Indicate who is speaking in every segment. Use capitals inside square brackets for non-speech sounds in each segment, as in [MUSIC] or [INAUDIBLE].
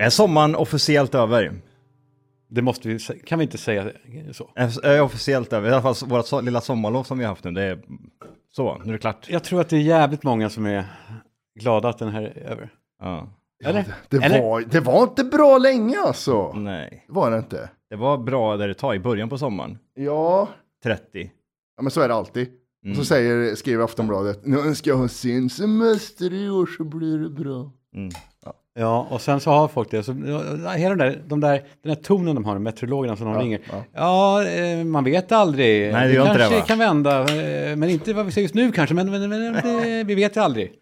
Speaker 1: Är sommaren officiellt över?
Speaker 2: Det måste vi, sä- kan vi inte säga så.
Speaker 1: Är- Är officiellt över? I alla fall vårt so- lilla sommarlov som vi har haft nu. Det är så, nu är det klart.
Speaker 2: Jag tror att det är jävligt många som är glada att den här är över.
Speaker 1: Ja.
Speaker 2: Eller?
Speaker 3: Det
Speaker 2: Eller?
Speaker 3: var, det var inte bra länge alltså.
Speaker 1: Nej,
Speaker 3: Det var det inte.
Speaker 1: det var bra där det tar i början på sommaren.
Speaker 3: Ja,
Speaker 1: 30.
Speaker 3: ja men så är det alltid. Och
Speaker 1: Mm.
Speaker 3: så säger, skriver Aftonbladet, nu önskar jag ha sin semester i år så blir det bra.
Speaker 2: Ja, och sen så har folk det. Så, ja, hela den, där, de där, den där tonen de har, meteorologerna som de ringer. Ja, eh, man vet aldrig.
Speaker 1: Nej, det gör inte det,
Speaker 2: kanske
Speaker 1: va?
Speaker 2: kan vända, eh, men inte vad vi ser just nu kanske, men, men, men eh, vi vet ju aldrig.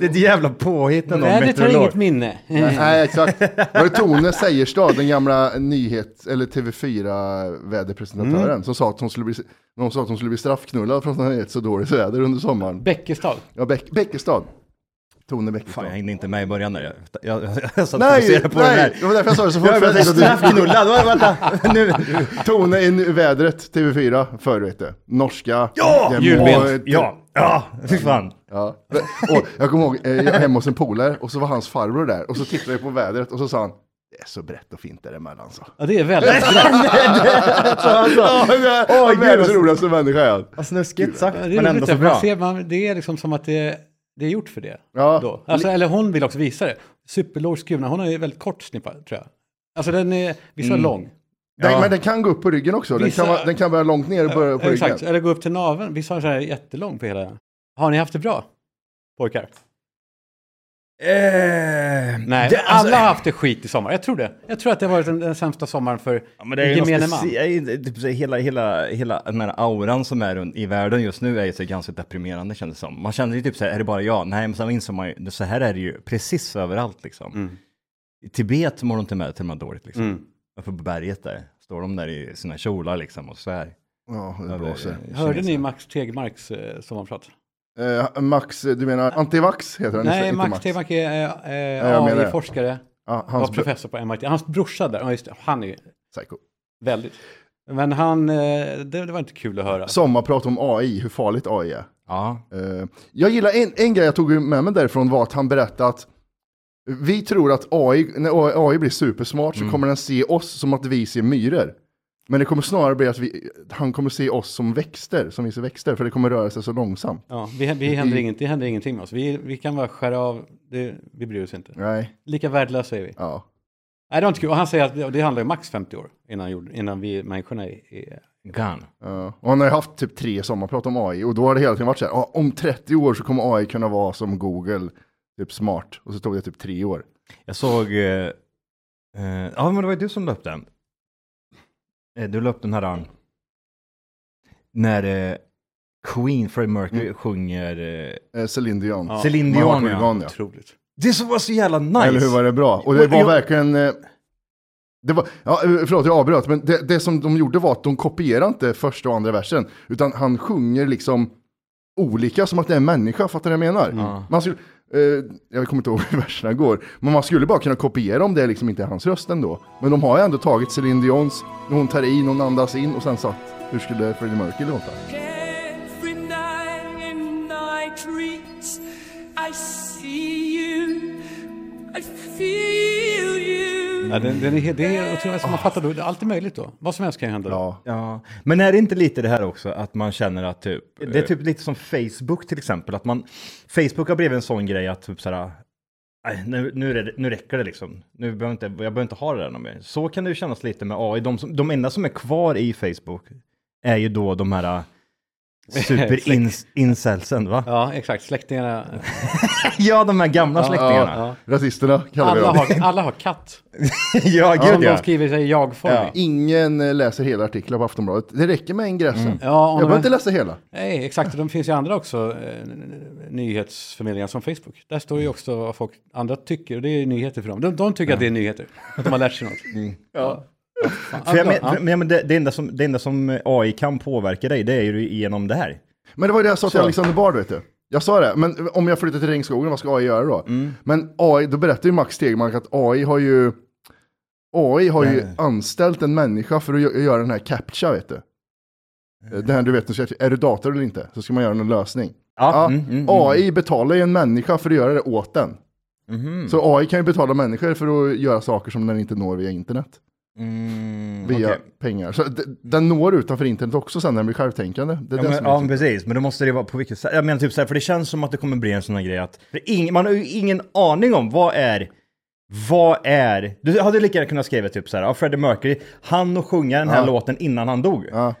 Speaker 1: Det är ett jävla påhitt när någon
Speaker 2: Vädret har inget
Speaker 1: meteorolog.
Speaker 2: minne.
Speaker 1: Mm.
Speaker 3: Nej, exakt. Var det Tone Seierstad, den gamla nyhets eller
Speaker 1: Mm.
Speaker 3: TV4-väderpresentatören, som sa att hon skulle bli, någon sa att hon skulle bli straffknullad för att hon hade gett så dåligt väder under sommaren.
Speaker 2: Bäckestad.
Speaker 3: Ja, Bäck, Bäckestad. Tone Bäckestad.
Speaker 1: Fan, jag hängde inte med i början där. Jag, jag, jag, jag satt och
Speaker 3: Nej,
Speaker 1: fokuserade på den
Speaker 3: nej,
Speaker 1: här.
Speaker 3: det var därför jag sa det så fort.
Speaker 1: Jag
Speaker 3: för
Speaker 1: blev
Speaker 3: jag tänkte att
Speaker 1: straffknullad. Vänta, Vänta, nu.
Speaker 3: du- Tone i nu- vädret, TV4, förr vet du. Norska.
Speaker 1: Ja!
Speaker 3: Den
Speaker 2: Julbent.
Speaker 3: var-
Speaker 1: Ja, ja, fy fan.
Speaker 3: Ja. Och jag kommer ihåg, eh, jag var hemma hos en polare och så var hans farbror där och så tittade jag på vädret och så sa han, det är så brett och fint däremellan så.
Speaker 2: Ja, det är väldigt
Speaker 1: [LAUGHS]
Speaker 2: bra.
Speaker 3: Alltså, [LAUGHS] Ja,
Speaker 1: Åh,
Speaker 3: oh,
Speaker 1: gud,
Speaker 3: världens
Speaker 1: vad-
Speaker 3: roligaste människa är han.
Speaker 1: Vad snuskigt sagt,
Speaker 2: Ja, det är
Speaker 1: men
Speaker 2: roligt
Speaker 1: ändå så
Speaker 2: det, för man
Speaker 1: bra.
Speaker 2: Ser, man, det är liksom som att det, det är gjort för det.
Speaker 3: Ja.
Speaker 2: Då. Alltså, eller hon vill också visa det. Superlåg skruvna, hon har ju väldigt kort snippa tror jag. Alltså den är, vissa är lång.
Speaker 3: Den,
Speaker 1: Ja.
Speaker 3: Men den kan gå upp på ryggen också. Den,
Speaker 2: Vissa- Eh,
Speaker 3: kan, vara- den kan börja långt ner och börja på
Speaker 2: Exakt,
Speaker 3: ryggen.
Speaker 2: eller gå upp till naveln. Vissa har så här jättelång på hela. Har ni haft det bra? Pojkar?
Speaker 1: Eh,
Speaker 2: Nej,
Speaker 1: det- alltså-
Speaker 2: alla har haft det skit i sommar. Jag tror det. Jag tror att det har varit den, den sämsta sommaren för
Speaker 1: Ja, men det är ju
Speaker 2: gemene
Speaker 1: något
Speaker 2: man.
Speaker 1: specie- är ju typ så här, hela, hela, hela den här auran som är runt- i världen just nu är ju så ganska deprimerande kändes det som. Man kände ju typ så här, är det bara jag? Nej, men sen insåg man ju, så här är det ju precis överallt liksom.
Speaker 2: Mm.
Speaker 1: I Tibet mår de inte med till de här dåligt liksom. Uppe på berget där, står de där i sina kjolar liksom och svär.
Speaker 3: Ja, det
Speaker 1: över,
Speaker 3: blåser.
Speaker 1: eh,
Speaker 2: Hörde ni
Speaker 1: kineserna.
Speaker 2: Max Tegmarks eh, sommarprat?
Speaker 3: Eh, Max, du menar antivax heter han?
Speaker 2: Nej,
Speaker 3: inte
Speaker 2: Max, Tegmark är eh,
Speaker 3: jag
Speaker 2: eh,
Speaker 3: menar det.
Speaker 2: AI-forskare.
Speaker 3: Ja,
Speaker 2: Var
Speaker 3: hans bro-
Speaker 2: professor på MIT. Hans brorsa där, ja just det, han är ju
Speaker 3: psycho.
Speaker 2: Väldigt. Men han, eh, det, det var inte kul att höra.
Speaker 3: Sommarprat om AI, hur farligt AI är.
Speaker 1: Ja,
Speaker 3: Eh, jag gillar en, en grej jag tog med mig därifrån var att han berättade att vi tror att AI, när AI, AI blir supersmart så kommer den se oss som att vi ser myror. Men det kommer snarare bli att vi, han kommer se oss som växter, som vi ser växter, för det kommer röra sig så långsamt.
Speaker 2: Ja, vi, vi händer
Speaker 3: Mm.
Speaker 2: inget, det händer ingenting med oss. Vi, vi kan bara skära av, det, vi bryr oss inte.
Speaker 3: Nej,
Speaker 2: Lika värdelösa är vi.
Speaker 3: ja.
Speaker 2: Nej, det var inte kul. Och han säger att det, det handlar ju max 50 år innan, jord, innan vi människorna är... är
Speaker 1: kan.
Speaker 3: ja. Och han har ju haft typ tre sommarprat om AI och då har det hela tiden varit så här, "Ja, om 30 år så kommer AI kunna vara som Google, typ smart. Och så tog det typ tre år.
Speaker 1: Jag såg... Eh, eh, ja, men det var ju du som la upp den. Eh, du la upp den här... eh, När eh, Queen, Freddie Mercury,
Speaker 3: Mm.
Speaker 1: sjunger eh,
Speaker 3: Eh, Celine Dion.
Speaker 2: Ja.
Speaker 1: Celine
Speaker 3: Man har
Speaker 1: Dion.
Speaker 3: varit
Speaker 1: Ja.
Speaker 3: vegan, ja.
Speaker 2: Otroligt.
Speaker 1: Det som var så jävla nice!
Speaker 3: Eller hur var det bra? Och det
Speaker 1: Och
Speaker 3: var
Speaker 1: jag-
Speaker 3: verkligen... eh, Det var, ja, eh, förlåt, jag avbröt, men det, det som de gjorde var att de kopierade inte första och andra versen, utan han sjunger liksom olika som att det är en människa, fattar du vad jag menar? Man skulle, eh, jag kommer inte ihåg [LAUGHS] hur verserna går, men man skulle bara kunna kopiera om det liksom inte är hans röst ändå. Men de har ju ändå tagit Celine Dions, när hon tar in, hon andas in och sen satt, hur skulle Freddie Mercury låta?
Speaker 4: Every night in my dreams, I see you, I feel you.
Speaker 2: Ja, den, den är, he- det är otroligt. Alltså, man fattar då, allt är möjligt då. Vad som helst kan ju hända. då.
Speaker 3: Ah. Ja,
Speaker 1: Ja, men är det inte lite det här också att man känner att typ... Det är typ lite som Facebook till exempel, att man... Facebook har blivit en sån grej att typ såhär... "Nej, Nu, nu, är det- nu räcker det liksom. Nu behöver inte, jag behöver inte ha det där någon mer. Så kan det ju kännas lite med AI. De, som, de enda som är kvar i Facebook är ju då de här eh, [LAUGHS] superincelsen, va?
Speaker 2: Ja, exakt. Släktingarna.
Speaker 1: Ja, de här gamla släktingarna. Ja,
Speaker 3: ja. rasisterna kallar vi
Speaker 2: Alla
Speaker 3: dem.
Speaker 2: har, alla har katt.
Speaker 1: gud
Speaker 2: de
Speaker 1: [LAUGHS] ja.
Speaker 2: skriver sig i jag-form.
Speaker 1: Ja.
Speaker 3: Ingen eh, läser hela artiklar på Aftonbladet. Det räcker med ingressen.
Speaker 2: Ja, om
Speaker 3: jag
Speaker 2: de-
Speaker 3: behöver inte läsa hela.
Speaker 2: Nej, exakt. Och de finns ju andra också, eh, nyhetsförmedlingar som Facebook. Där står
Speaker 1: Mm.
Speaker 2: ju också vad folk andra tycker, och det är ju nyheter för dem. De, de tycker att det är nyheter, att de har lärt sig något. Ja. Fan.
Speaker 1: Mm. För jag men,
Speaker 2: Ja.
Speaker 1: men, men det, det, enda som, det enda som AI kan påverka dig, det är ju genom det här.
Speaker 3: Men det var ju det jag sa till Alexander Bard, vet du. Jag sa det, men om jag flyttar till regnskogen, vad ska AI göra då?
Speaker 1: Mm.
Speaker 3: Men AI, då berättar ju Max Tegmark att AI har ju, AI har ju anställt en människa för att gö- göra den här captcha, vet du.
Speaker 1: Mm.
Speaker 3: Det här du vet, nu ska jag- är du dator eller inte? Så ska man göra någon lösning.
Speaker 1: Ja,
Speaker 3: Ja,
Speaker 1: mm, mm, mm.
Speaker 3: AI betalar ju en människa för att göra det åt den.
Speaker 1: Mhm.
Speaker 3: Så AI kan ju betala människor för att göra saker som den inte når via internet.
Speaker 1: Mm,
Speaker 3: Via
Speaker 1: okej.
Speaker 3: pengar. Så d- den når utanför internet också sen när den blir självtänkande. Det är
Speaker 1: Ja
Speaker 3: det
Speaker 1: men,
Speaker 3: som är typ-
Speaker 1: ja,
Speaker 3: så-
Speaker 1: men precis, men då måste det vara på vilket sätt. Jag menar typ så här, för det känns som att det kommer bli en sån här grej att för ing, man har ju ingen aning om vad är, vad är, du hade lika gärna kunnat skriva typ så här, ja, Freddie Mercury, han och sjunga den här
Speaker 3: Ja.
Speaker 1: låten innan han dog.
Speaker 3: Ja.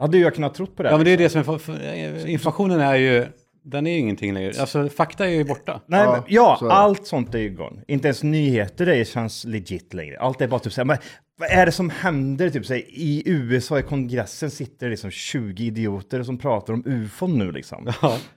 Speaker 1: Hade ju jag kunnat trott på det.
Speaker 2: Ja, men det är det som är... för- eh, Informationen är ju... Den är ju ingenting längre. Alltså, fakta är ju borta.
Speaker 1: Nej,
Speaker 3: Ja,
Speaker 1: men, ja
Speaker 3: så är det.
Speaker 1: allt sånt är ju gone. Inte ens nyheter det känns legit längre. Allt är bara typ så här, men vad är det som händer? Typ så här, I USA i kongressen sitter det liksom 20 idioter som pratar om ufon nu liksom.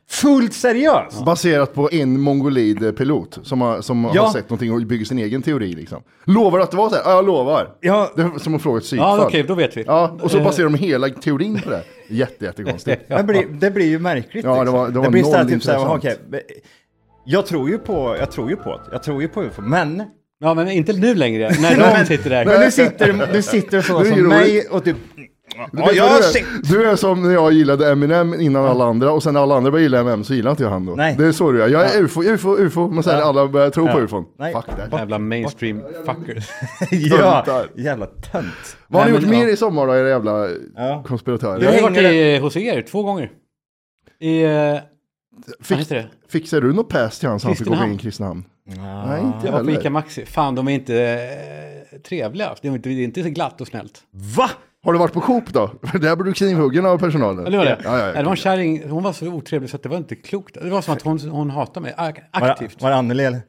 Speaker 1: Fullt seriöst!
Speaker 3: Baserat på en mongolid-pilot som, har, som
Speaker 1: Ja.
Speaker 3: har sett någonting och bygger sin egen teori. Liksom. Lovar du att det var så här? Ja, jag lovar.
Speaker 1: Ja.
Speaker 3: Det är som att fråga ett psykfall.
Speaker 2: Ja, okej, då vet vi.
Speaker 3: Ja, och så baserar de hela teorin på det. Jätte, jättekonstigt.
Speaker 1: Det, blir, det blir ju märkligt.
Speaker 3: Ja, det var- det var
Speaker 1: blir istället
Speaker 3: noll
Speaker 1: typ såhär,
Speaker 3: intressant.
Speaker 1: okej, men jag tror ju på, jag tror ju på det. Jag tror ju på UFO, men...
Speaker 2: Ja, men inte nu längre. När de sitter
Speaker 1: [LAUGHS]
Speaker 2: där.
Speaker 1: Men nu sitter, nu sitter sådana
Speaker 3: Det är
Speaker 1: som
Speaker 3: ju
Speaker 1: mig
Speaker 3: roligt.
Speaker 1: och typ...
Speaker 3: Du
Speaker 1: Ja,
Speaker 3: vet
Speaker 1: jag
Speaker 3: vad
Speaker 1: har
Speaker 3: du,
Speaker 1: sett...
Speaker 3: är, du är som när jag gillade Eminem innan alla andra och sen när alla andra började gilla Eminem så gillar inte jag han då.
Speaker 1: Nej.
Speaker 3: Det är så du är. Jag är ufo, ufo, ufo, men sen alla börjar tro på ufon.
Speaker 1: Nej.
Speaker 3: Fuck det.
Speaker 2: Jävla mainstream fuckers.
Speaker 1: Ja,
Speaker 3: Töntar.
Speaker 1: jävla tönt.
Speaker 3: Vad har ni
Speaker 2: Nej,
Speaker 3: gjort
Speaker 2: men-
Speaker 3: mer i sommar då, era jävla
Speaker 1: Ja.
Speaker 2: Jag
Speaker 3: konspiratörer?
Speaker 2: har ju varit
Speaker 1: hänger
Speaker 2: i, hos er två gånger. I... eh, Vad heter det?
Speaker 3: Fixar du något pass till han så han fick åka
Speaker 2: Kristinehamn.
Speaker 3: in i Kristinehamn?
Speaker 1: Ja.
Speaker 3: Nej, inte jag
Speaker 2: Jag var på Ica
Speaker 3: heller.
Speaker 2: Maxi. Fan, de är inte eh, trevliga. Det är inte, det är inte så glatt och snällt.
Speaker 1: Va?
Speaker 3: Har du varit på Coop då? [LAUGHS] För där blir du knivhuggen av personalen.
Speaker 2: Ja, det var det.
Speaker 3: Ja, ja, ja.
Speaker 2: Nej, det var en kärring, hon var så otrevlig så att det var inte klokt. Det var som att hon, hon hatade mig ak-
Speaker 1: Var,
Speaker 2: aktivt.
Speaker 1: var det Anneli eller?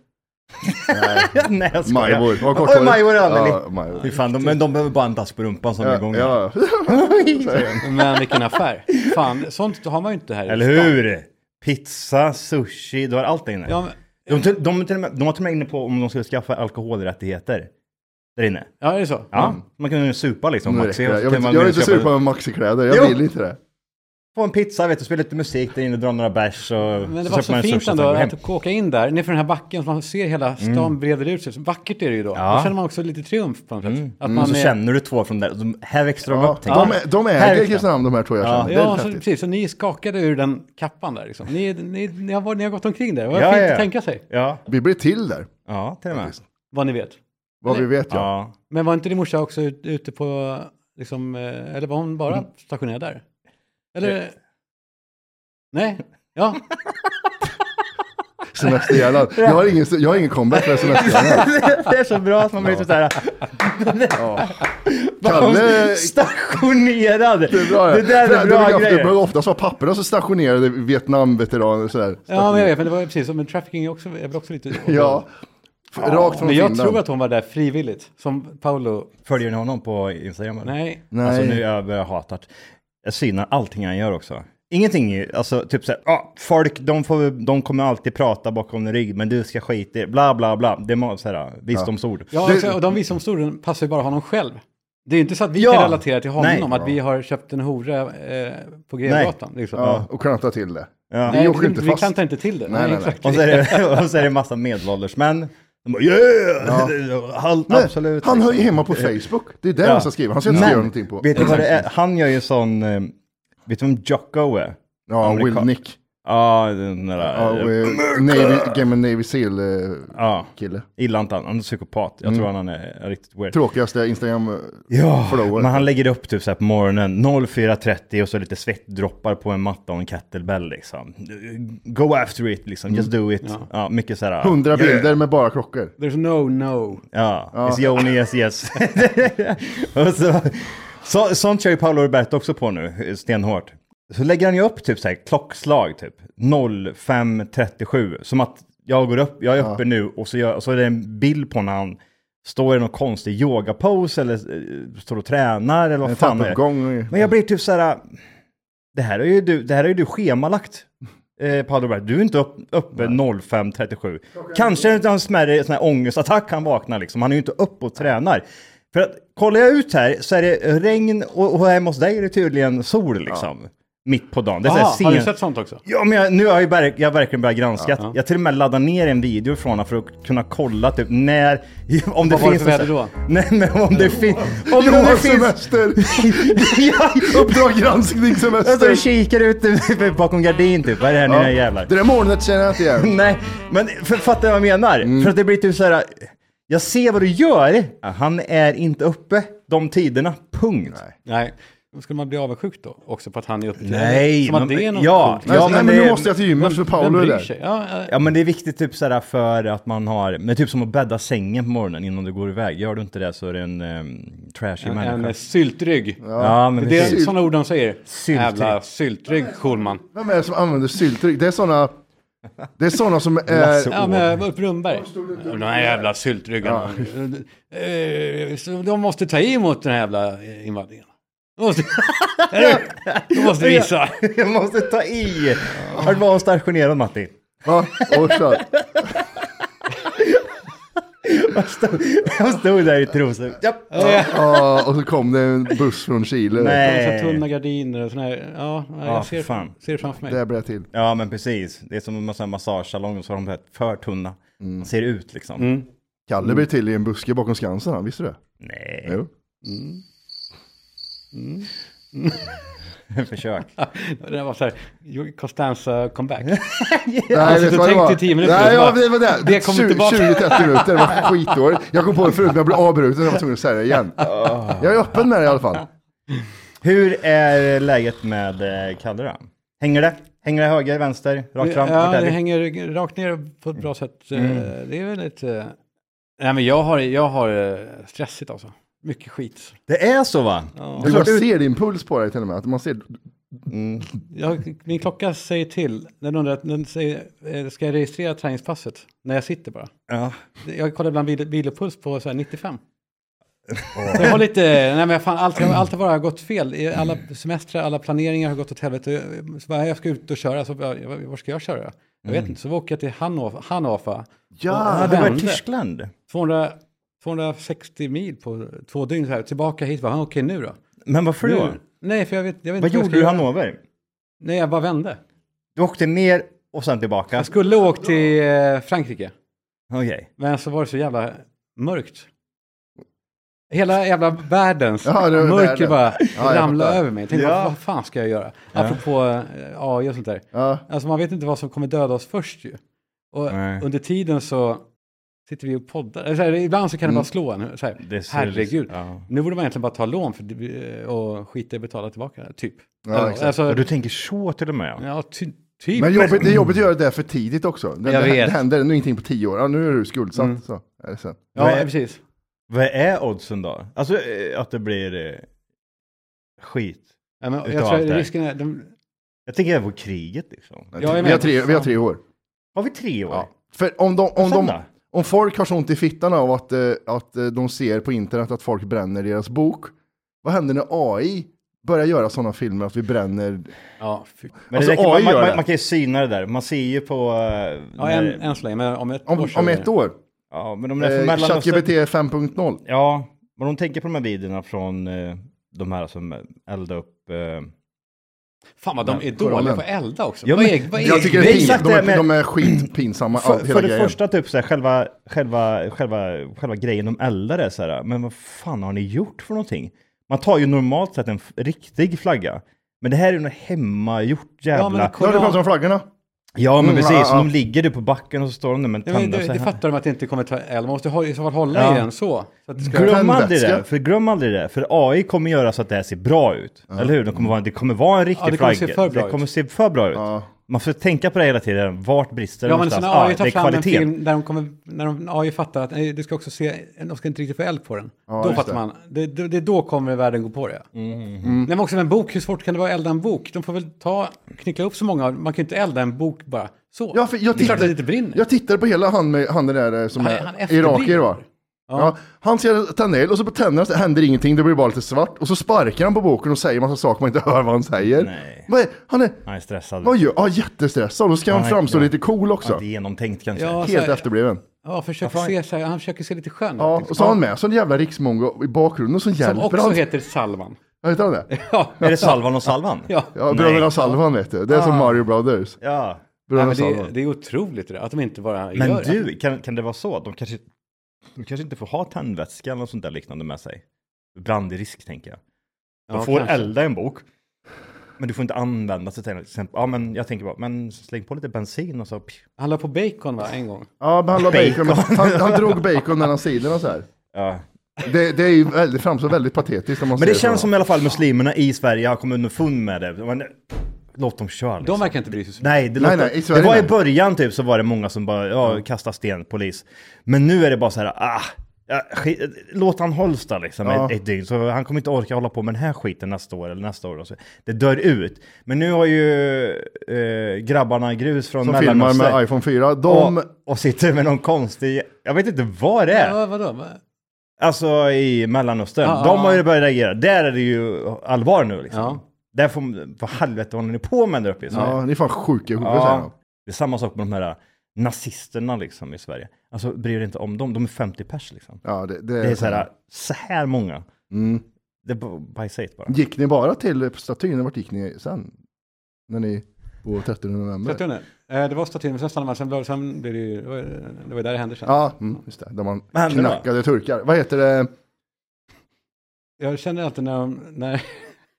Speaker 1: Nej, jag skojar.
Speaker 3: Majvor. Vad kort
Speaker 1: Oj,
Speaker 3: var det?
Speaker 1: Majvor och Anneli.
Speaker 3: Ja, Majvor.
Speaker 1: Fy fan, de, men de behöver bara en dass på rumpan som är igång.
Speaker 3: Ja, ja. [LAUGHS]
Speaker 2: Men vilken affär. Fan, sånt har man ju inte här.
Speaker 1: Eller hur? Pizza, sushi, du har allt där inne.
Speaker 2: Ja, men,
Speaker 1: De, till- de, till och med, de var till och med inne på om de skulle skaffa alkoholrättigheter. Där inne.
Speaker 2: ja, är det så?
Speaker 1: Ja, man kan ju supa liksom.
Speaker 3: Mm. Nu
Speaker 1: Maxi,
Speaker 3: räcker det.
Speaker 1: och så kan
Speaker 3: Jag vill-
Speaker 1: man
Speaker 3: jag är inte
Speaker 1: köpa-
Speaker 3: sur på maxikläder, jag
Speaker 1: Jo.
Speaker 3: vill inte det.
Speaker 1: Få en pizza, vet du, spela lite musik där inne, dra några bärs och...
Speaker 2: Men det var så fint ändå
Speaker 1: går hem. Mm.
Speaker 2: att åka in där, nerför den här backen, så man ser hela stan breder ut sig. Så vackert är det ju då.
Speaker 1: Ja.
Speaker 2: Då känner man också lite triumf på något sätt. Att man
Speaker 1: Mm. Och så
Speaker 2: är,
Speaker 1: känner du två från där, och de, här växer de
Speaker 3: Ja,
Speaker 1: upp. tänker
Speaker 3: de,
Speaker 1: jag.
Speaker 3: är- de
Speaker 1: Här
Speaker 3: äger
Speaker 1: växer
Speaker 3: Kristinehamn de här två jag känner. Det är
Speaker 2: ja,
Speaker 3: rätt
Speaker 2: så,
Speaker 3: häftigt.
Speaker 2: precis. Så ni är skakade ur den kappan där liksom. Ni, ni, ni, har, varit- ni har gått omkring där. Vad
Speaker 1: Ja,
Speaker 2: fint
Speaker 1: ja, ja.
Speaker 2: att tänka sig.
Speaker 1: Ja,
Speaker 3: Vi blir till där,
Speaker 1: ja, till och med.
Speaker 2: Vad ni vet.
Speaker 3: vad vi vet ja.
Speaker 1: Ja.
Speaker 2: Men var inte din morsa också ut- ute på, liksom, eh, eller var hon bara
Speaker 3: Mm.
Speaker 2: stationerad där?
Speaker 3: Eh.
Speaker 2: Eller? Nej? Ja,
Speaker 3: Semesterhjärnan. Jag har ingen, jag har ingen comeback för [LAUGHS] semesterhjärnan.
Speaker 1: det är så bra att man blir typ så såhär...
Speaker 3: Kalle-
Speaker 1: Stationerad! [LAUGHS] Det,
Speaker 3: är bra,
Speaker 1: det där är
Speaker 3: brukar
Speaker 1: bra
Speaker 3: ofta- Det brukar
Speaker 1: grejer.
Speaker 3: oftast vara papperna som stationerade Vietnamveteraner och sådär.
Speaker 2: ja men jag vet, men det var ju precis som en trafficking är också, jag blev också lite...
Speaker 3: Ja. F- Rakt från
Speaker 2: Men jag
Speaker 3: Finland.
Speaker 2: tror att hon var där frivilligt, som Paolo.
Speaker 1: Följer ni honom på Instagram? eller?
Speaker 2: Nej,
Speaker 3: Nej.
Speaker 1: Alltså nu har jag börjat hata att- Jag synar allting han gör också. Ingenting, är- alltså typ såhär, ah, folk, de, får, de kommer alltid prata bakom din rygg, men du ska skita i det." bla bla bla. Det är såhär, ah, visdomsord.
Speaker 2: Ja,
Speaker 3: Det-
Speaker 2: också, och de visdomsorden passar ju bara honom själv. Det är ju inte så att vi
Speaker 1: Ja.
Speaker 2: kan relatera till honom,
Speaker 1: Nej.
Speaker 2: att vi har köpt en hora eh, på Grevgatan. Liksom.
Speaker 3: Ja, och knata till det.
Speaker 1: Ja.
Speaker 3: Vi
Speaker 2: Nej,
Speaker 3: åker inte
Speaker 2: vi
Speaker 3: fast.
Speaker 2: kan ta inte till det.
Speaker 3: Nej, nej, nej.
Speaker 2: exakt.
Speaker 1: Och så är det, [LAUGHS] och så är det en massa medelålders män. De bara yeah! [LAUGHS] Han,
Speaker 3: Nej,
Speaker 1: absolut.
Speaker 3: Han hör ju
Speaker 1: liksom.
Speaker 3: hemma på Facebook. Det är där
Speaker 1: Ja.
Speaker 3: han ska skriva. Han ska inte
Speaker 1: Men,
Speaker 3: skriva någonting på.
Speaker 1: Vet du vad det är? Han gör ju sån, eh, vet du vem Jocko är?
Speaker 3: Ja,
Speaker 1: Amerika-
Speaker 3: Will Nick.
Speaker 1: Ja, den där...
Speaker 3: Ja, och, eh, Navy, Game of Navy Seal eh,
Speaker 1: Ja,
Speaker 3: kille.
Speaker 1: gillar inte han. Han är psykopat. Jag
Speaker 3: Mm.
Speaker 1: tror han är riktigt weird.
Speaker 3: Tråkigaste Instagram. eh,
Speaker 1: Ja,
Speaker 3: Förlorat.
Speaker 1: men han lägger upp typ så här på morgonen 04.30 och så lite svettdroppar på en matta och en kettlebell liksom. Go after it liksom, just do it. Ja. mycket så här.
Speaker 3: Hundra bilder med bara klockor.
Speaker 2: There's no no.
Speaker 3: Alltså,
Speaker 1: Ja, it's Joni, yes yes. [LAUGHS] och så, så, sånt kör ju Paolo Roberto också på nu, stenhårt. Så lägger han ju upp typ så här klockslag typ 05.37. Som att jag går upp, jag är uppe nu och så, gör, och så är det en bild på när han står i någon konstig yogapose eller eh, står och tränar eller vad
Speaker 3: En
Speaker 1: fan det är.
Speaker 3: trappuppgång. i-
Speaker 1: Men jag blir typ så här, det här är ju du, det här är ju du schemalagt. Eh, Paolo Roberto. du är inte upp, uppe 05.37. Kanske är det en smärre sån här ångestattack han vaknar liksom. Han är ju inte uppe och tränar. För att kollar jag ut här så är det regn och, och hemma hos dig är det tydligen sol liksom. mitt på dagen. Det är så här
Speaker 2: Aha, Ah, har du
Speaker 1: sen-
Speaker 2: sett sånt också?
Speaker 1: Ja, men jag, nu har jag, ju verk, jag har verkligen börjat granska.
Speaker 2: Ja.
Speaker 1: Jag till och med laddar ner en video från honom för att kunna kolla typ när... [LAUGHS] Om det
Speaker 2: Vad var det
Speaker 1: finns
Speaker 2: för
Speaker 1: en-
Speaker 2: väder då?
Speaker 1: Nej, men om det, fin, om det
Speaker 3: Johans
Speaker 1: finns...
Speaker 3: semester!
Speaker 1: ja,
Speaker 3: Uppdrag granskning
Speaker 1: jag står
Speaker 3: semester!
Speaker 1: och kikar ut [LAUGHS] bakom gardin typ. Vad är det här
Speaker 3: Ja.
Speaker 1: nya jävlar?
Speaker 3: Det där molnet känner jag inte igen.
Speaker 1: Nej, men för, fattar jag vad jag menar?
Speaker 2: Mm.
Speaker 1: För att det blir typ så här. Jag ser vad du gör. Han är inte uppe de tiderna, punkt. Nej,
Speaker 2: Nej. Då Skulle man bli avundsjuk då? Också på att han är uppe till Som
Speaker 1: men,
Speaker 2: att det är något
Speaker 1: ja,
Speaker 2: coolt.
Speaker 1: ja,
Speaker 3: Nej, men
Speaker 1: det,
Speaker 3: nu måste jag till gymmet för Paolo är
Speaker 2: Vem bryr
Speaker 3: där.
Speaker 2: sig? Ja, eh,
Speaker 1: Ja men det är viktigt typ så här för att man har, men typ som att bädda sängen på morgonen innan du går iväg. Gör du inte det så är du en um, trashy
Speaker 2: en,
Speaker 1: människa.
Speaker 2: en syltrygg.
Speaker 1: ja men
Speaker 2: Det är
Speaker 1: precis.
Speaker 2: sådana ord de säger.
Speaker 1: Syltrygg.
Speaker 2: Jävla syltrygg Schulman.
Speaker 3: Vem är det som använder syltryck? Det är såna... Det är såna som
Speaker 1: Lasse
Speaker 3: är...
Speaker 2: Ja, men eh, Ulf Brunnberg. De här jävla syltryggarna. Eh, så De måste ta emot den här jävla eh, invandringen. De måste, [LAUGHS] de måste visa.
Speaker 1: Jag måste ta i! Vart var hon stationerad Matti?
Speaker 3: Va? Och kör.
Speaker 1: Hon stod där i trosor. Japp.
Speaker 3: Ja, och så kom det en buss från Chile.
Speaker 2: De har så tunna
Speaker 1: Nej.
Speaker 2: gardiner och sådana här. Ja, jag
Speaker 1: Ja,
Speaker 2: ser,
Speaker 1: fan.
Speaker 2: ser det framför mig.
Speaker 3: Där blev jag till.
Speaker 1: Ja men precis. Det är som en massa massagesalonger så har de här för tunna.
Speaker 2: Mm.
Speaker 1: De ser ut liksom.
Speaker 3: Kalle blev till i en buske bakom Skansen, han, visste du det?
Speaker 1: Nej, [LAUGHS]
Speaker 3: Jo.
Speaker 1: försök.
Speaker 2: Det där var så här, Costanza comeback.
Speaker 3: Nej,
Speaker 2: Alltså, tänk till tio minuter,
Speaker 3: Nej,
Speaker 2: så
Speaker 3: ja,
Speaker 2: bara-
Speaker 3: det var det.
Speaker 2: det kommer
Speaker 3: 20
Speaker 2: tillbaka.
Speaker 3: 20-30 minuter,
Speaker 2: [LAUGHS]
Speaker 3: det var skitdåligt. Jag kom på det förut, men jag blev avbruten och jag var tvungen att säga det igen. Jag är öppen med det i alla fall.
Speaker 1: Hur är läget med eh, Kalle då? Hänger det? Hänger det höger, vänster, rakt fram? Vart
Speaker 2: Ja,
Speaker 1: är
Speaker 2: det
Speaker 1: vi?
Speaker 2: hänger rakt ner på ett bra sätt. Eh, Det är väldigt... eh, Nej, men jag har, jag har eh, stressigt alltså. Mycket skit.
Speaker 1: det är så va?
Speaker 3: Du, man ser din puls på dig till och med. Att man ser,
Speaker 2: Jag, min klocka säger till. Den undrar, den säger, eh, ska jag registrera träningspasset? När jag sitter bara.
Speaker 1: Ja.
Speaker 2: Jag kollar ibland vil- vilopuls på så här 95. Så jag har lite, nej men fan, allt, allt har bara gått fel. I Alla semestrar, alla planeringar har gått åt helvete. Så bara, jag ska ut och köra, så bara, jag- var ska jag köra? Jag vet inte, så vi åker jag till Hanofa. Hanofa
Speaker 3: Ja,
Speaker 1: Ja,
Speaker 2: Och
Speaker 1: det var i
Speaker 2: vände.
Speaker 1: Tyskland.
Speaker 2: 200, 260 mil på två dygn, så här, tillbaka hit. Bara, "Ah, Okej, nu då?
Speaker 1: Men varför då?
Speaker 2: Nu? Nej, för jag vet, jag vet
Speaker 1: Vad
Speaker 2: inte
Speaker 1: gjorde
Speaker 2: jag
Speaker 1: du i
Speaker 2: ska göra.
Speaker 1: Hannover?
Speaker 2: Nej, jag bara vände.
Speaker 1: Du åkte ner och sen tillbaka?
Speaker 2: Jag skulle åkt till eh, Frankrike.
Speaker 1: Okej.
Speaker 2: Men så var det så jävla mörkt. Hela jävla världens
Speaker 3: Ja, det var
Speaker 2: mörker
Speaker 3: världen.
Speaker 2: bara
Speaker 3: jag
Speaker 2: ramlade
Speaker 3: fattar.
Speaker 2: över mig. Jag tänkte,
Speaker 1: Ja.
Speaker 2: vad fan ska jag göra? Apropå eh, AI och sånt där.
Speaker 3: ja,
Speaker 2: Alltså man vet inte vad som kommer döda oss först ju. Och
Speaker 1: Nej.
Speaker 2: under tiden så sitter vi och poddar. Eller Så här, ibland så kan det bara slå en. Så här,
Speaker 1: Mm. Det är så-
Speaker 2: herregud.
Speaker 1: ja.
Speaker 2: Nu borde man egentligen bara ta lån för, det- och skita i att betala tillbaka. Typ.
Speaker 3: ja, exakt.
Speaker 2: alltså,
Speaker 1: Ja, Du tänker så till och med? Ja.
Speaker 2: ja, ty, typ.
Speaker 3: Men jobbigt, det är jobbigt att göra det där för tidigt också. Det,
Speaker 2: Jag
Speaker 3: det,
Speaker 2: vet. Mm.
Speaker 3: det händer nu ingenting på tio år. Ja, nu är du skuldsatt. Så. Är det sen.
Speaker 2: ja, precis.
Speaker 1: Vad är oddsen då? Alltså eh, att det blir eh, skit.
Speaker 2: Ja, men, jag
Speaker 1: Utav
Speaker 2: tror
Speaker 1: allt det här.
Speaker 2: risken är... De,
Speaker 1: Jag tänker även på kriget liksom.
Speaker 2: Jag är med.
Speaker 3: vi, har tre, vi har tre år.
Speaker 1: Har vi tre år?
Speaker 3: Ja. För om, de,
Speaker 1: Sen
Speaker 3: om, de,
Speaker 1: då?
Speaker 3: om folk har så ont i fittan av att, eh, att eh, de ser på internet att folk bränner deras bok, vad händer när AI börjar göra sådana filmer att vi bränner?
Speaker 2: ja, fy.
Speaker 1: Men
Speaker 3: Alltså,
Speaker 1: det där, kan-
Speaker 3: AI
Speaker 1: man,
Speaker 3: gör
Speaker 1: man,
Speaker 3: det.
Speaker 1: man kan ju syna det där. Man ser ju på... eh,
Speaker 2: Ja,
Speaker 1: när-
Speaker 2: än, än så länge, men om ett år.
Speaker 3: Om,
Speaker 2: så är
Speaker 3: om
Speaker 2: det-
Speaker 3: ett år?
Speaker 1: ja men om det är från
Speaker 3: Eh,
Speaker 1: Mellanöstern.
Speaker 3: ChatGPT 5.0.
Speaker 1: Ja, men de tänker på de här videorna från eh, de här som eldar upp... eh,
Speaker 2: Fan vad de är dåliga
Speaker 3: Koranen.
Speaker 2: på att elda också.
Speaker 1: Ja,
Speaker 2: vad
Speaker 1: men-
Speaker 2: är, vad är,
Speaker 3: Jag tycker det
Speaker 1: Det
Speaker 3: är
Speaker 1: är
Speaker 3: pinsamt.
Speaker 1: exakt
Speaker 3: De är,
Speaker 1: det, men-
Speaker 3: de är skitpinsamma,
Speaker 1: För,
Speaker 3: all, hela
Speaker 1: för det
Speaker 3: grejen.
Speaker 1: första, typ så här, själva, själva, själva, själva grejen de eldar är så här, men vad fan har ni gjort för någonting? Man tar ju normalt sett en f- riktig flagga, men det här är ju något hemmagjort
Speaker 2: Ja, men
Speaker 1: jävla...
Speaker 3: Nu har du pratat
Speaker 2: koran-
Speaker 3: om flaggorna.
Speaker 1: Ja, men
Speaker 3: Mm,
Speaker 1: precis.
Speaker 3: ja, ja.
Speaker 1: De ligger du på backen och så står de där med
Speaker 2: Ja, men
Speaker 1: tända
Speaker 2: det,
Speaker 1: så
Speaker 2: det
Speaker 1: här.
Speaker 2: fattar de att det inte kommer ta eld. Man måste ha, i så fall hålla
Speaker 1: alltså. Ja.
Speaker 2: i den så. så att det ska,
Speaker 1: Glöm aldrig
Speaker 3: Tändvätska.
Speaker 1: det, för glöm aldrig det. För AI kommer göra så att det här ser bra ut. Eller hur? Det kommer vara, det kommer vara en riktig
Speaker 2: det
Speaker 1: flagga.
Speaker 2: kommer se för bra
Speaker 1: det
Speaker 2: ut.
Speaker 1: kommer se för bra ut.
Speaker 3: Ja.
Speaker 1: Man får tänka på det hela tiden. Vart brister det
Speaker 2: ja, men sen
Speaker 1: någonstans? Ah,
Speaker 2: när AI
Speaker 1: det
Speaker 2: tar
Speaker 1: är
Speaker 2: fram en
Speaker 1: kvaliteten.
Speaker 2: film där de kommer, när de, AI fattar att nej, det ska också se, de ska inte riktigt få eld på den. då
Speaker 3: just
Speaker 2: fattar
Speaker 3: det.
Speaker 2: man, det, det, det är då kommer världen gå på det. Nej, men också med en bok, hur svårt kan det vara att elda en bok? De får väl ta, knyckla upp så många, man kan ju inte elda en bok bara så.
Speaker 3: Ja, för jag
Speaker 2: det är klart
Speaker 3: tittar-
Speaker 2: att det inte brinner.
Speaker 3: Jag tittar på hela han, med, han den där eh, som
Speaker 2: Han- han
Speaker 3: är
Speaker 2: efterblir.
Speaker 3: irakier va? Ja. han ser tända eld och så på tänderna så händer ingenting, det blir bara lite svart. Och så sparkar han på boken och säger massa saker man inte [LAUGHS] hör vad han säger.
Speaker 1: Nej.
Speaker 3: Vad är, han är,
Speaker 1: Nej, stressad.
Speaker 3: vad gör, ja jättestressad. Och så ska han
Speaker 1: är-
Speaker 3: framstå
Speaker 1: ja. Alltså-
Speaker 3: lite cool också.
Speaker 1: Inte genomtänkt kanske.
Speaker 2: Ja, så
Speaker 3: Helt
Speaker 2: här-
Speaker 3: efterbliven.
Speaker 2: Ja, försök se så här, han försöker se lite skön ut,
Speaker 3: Ja,
Speaker 2: liksom.
Speaker 3: och så har han med sig en jävla riksmongo i bakgrunden som
Speaker 2: Som
Speaker 3: hjälper
Speaker 2: också
Speaker 3: han.
Speaker 2: heter Salman. [LAUGHS]
Speaker 3: Ja, heter han det?
Speaker 2: Ja,
Speaker 1: Är det Salvan och Salvan?
Speaker 2: [LAUGHS] ja.
Speaker 3: Ja,
Speaker 1: Nej.
Speaker 3: Bröderna Salvan vet du. Det är som Mario Brothers.
Speaker 1: Ja.
Speaker 2: Nej,
Speaker 3: Bröderna
Speaker 2: men det,
Speaker 3: Salvan.
Speaker 2: det är otroligt det där, att de inte bara
Speaker 1: Men
Speaker 2: gör det.
Speaker 1: du, kan, kan det vara så? att De kanske, de kanske inte får ha tändvätska eller något sånt där liknande med sig. Brandrisk tänker jag. De
Speaker 2: Ja,
Speaker 1: får
Speaker 2: kanske.
Speaker 1: elda en bok. Men du får inte använda sig till exempel. Ja, men jag tänker bara, men släng på lite bensin och så. pju.
Speaker 2: Han la på bacon va, en gång?
Speaker 3: Ja, men han, la bacon.
Speaker 1: Bacon.
Speaker 3: Han, han drog bacon mellan sidorna så här.
Speaker 1: Ja.
Speaker 3: Det, det är ju väldigt, framstår väldigt patetiskt när man
Speaker 1: Men det
Speaker 3: ser
Speaker 1: känns
Speaker 3: så.
Speaker 1: som i alla fall muslimerna i Sverige har kommit underfund med det. Men, låt dem köra liksom.
Speaker 2: De verkar inte bry sig så mycket.
Speaker 1: Nej, det,
Speaker 3: Nej,
Speaker 1: låter,
Speaker 3: nej, i Sverige
Speaker 1: det var
Speaker 3: nej.
Speaker 1: i början typ så var det många som bara, ja, kasta sten, polis. Men nu är det bara så här, ah, ja, skit, låt han hålls där liksom
Speaker 3: Ja.
Speaker 1: ett, ett dygn. Så han kommer inte orka hålla på med den här skiten nästa år eller nästa år. Och så. Det dör ut. Men nu har ju eh, grabbarna i grus från
Speaker 3: Som filmar med
Speaker 1: Mellanöstern
Speaker 3: iPhone 4. De,
Speaker 1: och, och sitter med någon konstig, jag vet inte vad det är.
Speaker 2: Ja, vadå? Va?
Speaker 1: Alltså i Mellanöstern.
Speaker 2: Ja,
Speaker 1: De
Speaker 2: ja,
Speaker 1: har ju
Speaker 2: ja.
Speaker 1: börjat reagera. Där är det ju allvar nu liksom.
Speaker 2: Ja.
Speaker 1: Där får, vad helvete håller ni på med där uppe i Sverige?
Speaker 3: ja, ni är fan sjuka i huvudet säger de.
Speaker 1: Ja, det är samma sak med de här nazisterna liksom i Sverige. Alltså bryr dig inte om dem, de är 50 pers liksom.
Speaker 3: Ja, det, Mm.
Speaker 1: Det är så här, så här många. Det är bara- bajsigt bara.
Speaker 3: Gick ni bara till statyn? Vart gick ni sen? När ni, på 13 november?
Speaker 2: 30 eh, Det var statyn, men sen stannade man, sen, blev- sen blev det ju, det var ju- det var ju där det hände sen.
Speaker 3: Ja, mm, just det. Där man
Speaker 1: Vad hände då?
Speaker 3: knackade turkar. Vad heter det?
Speaker 2: Jag känner alltid när, de, när,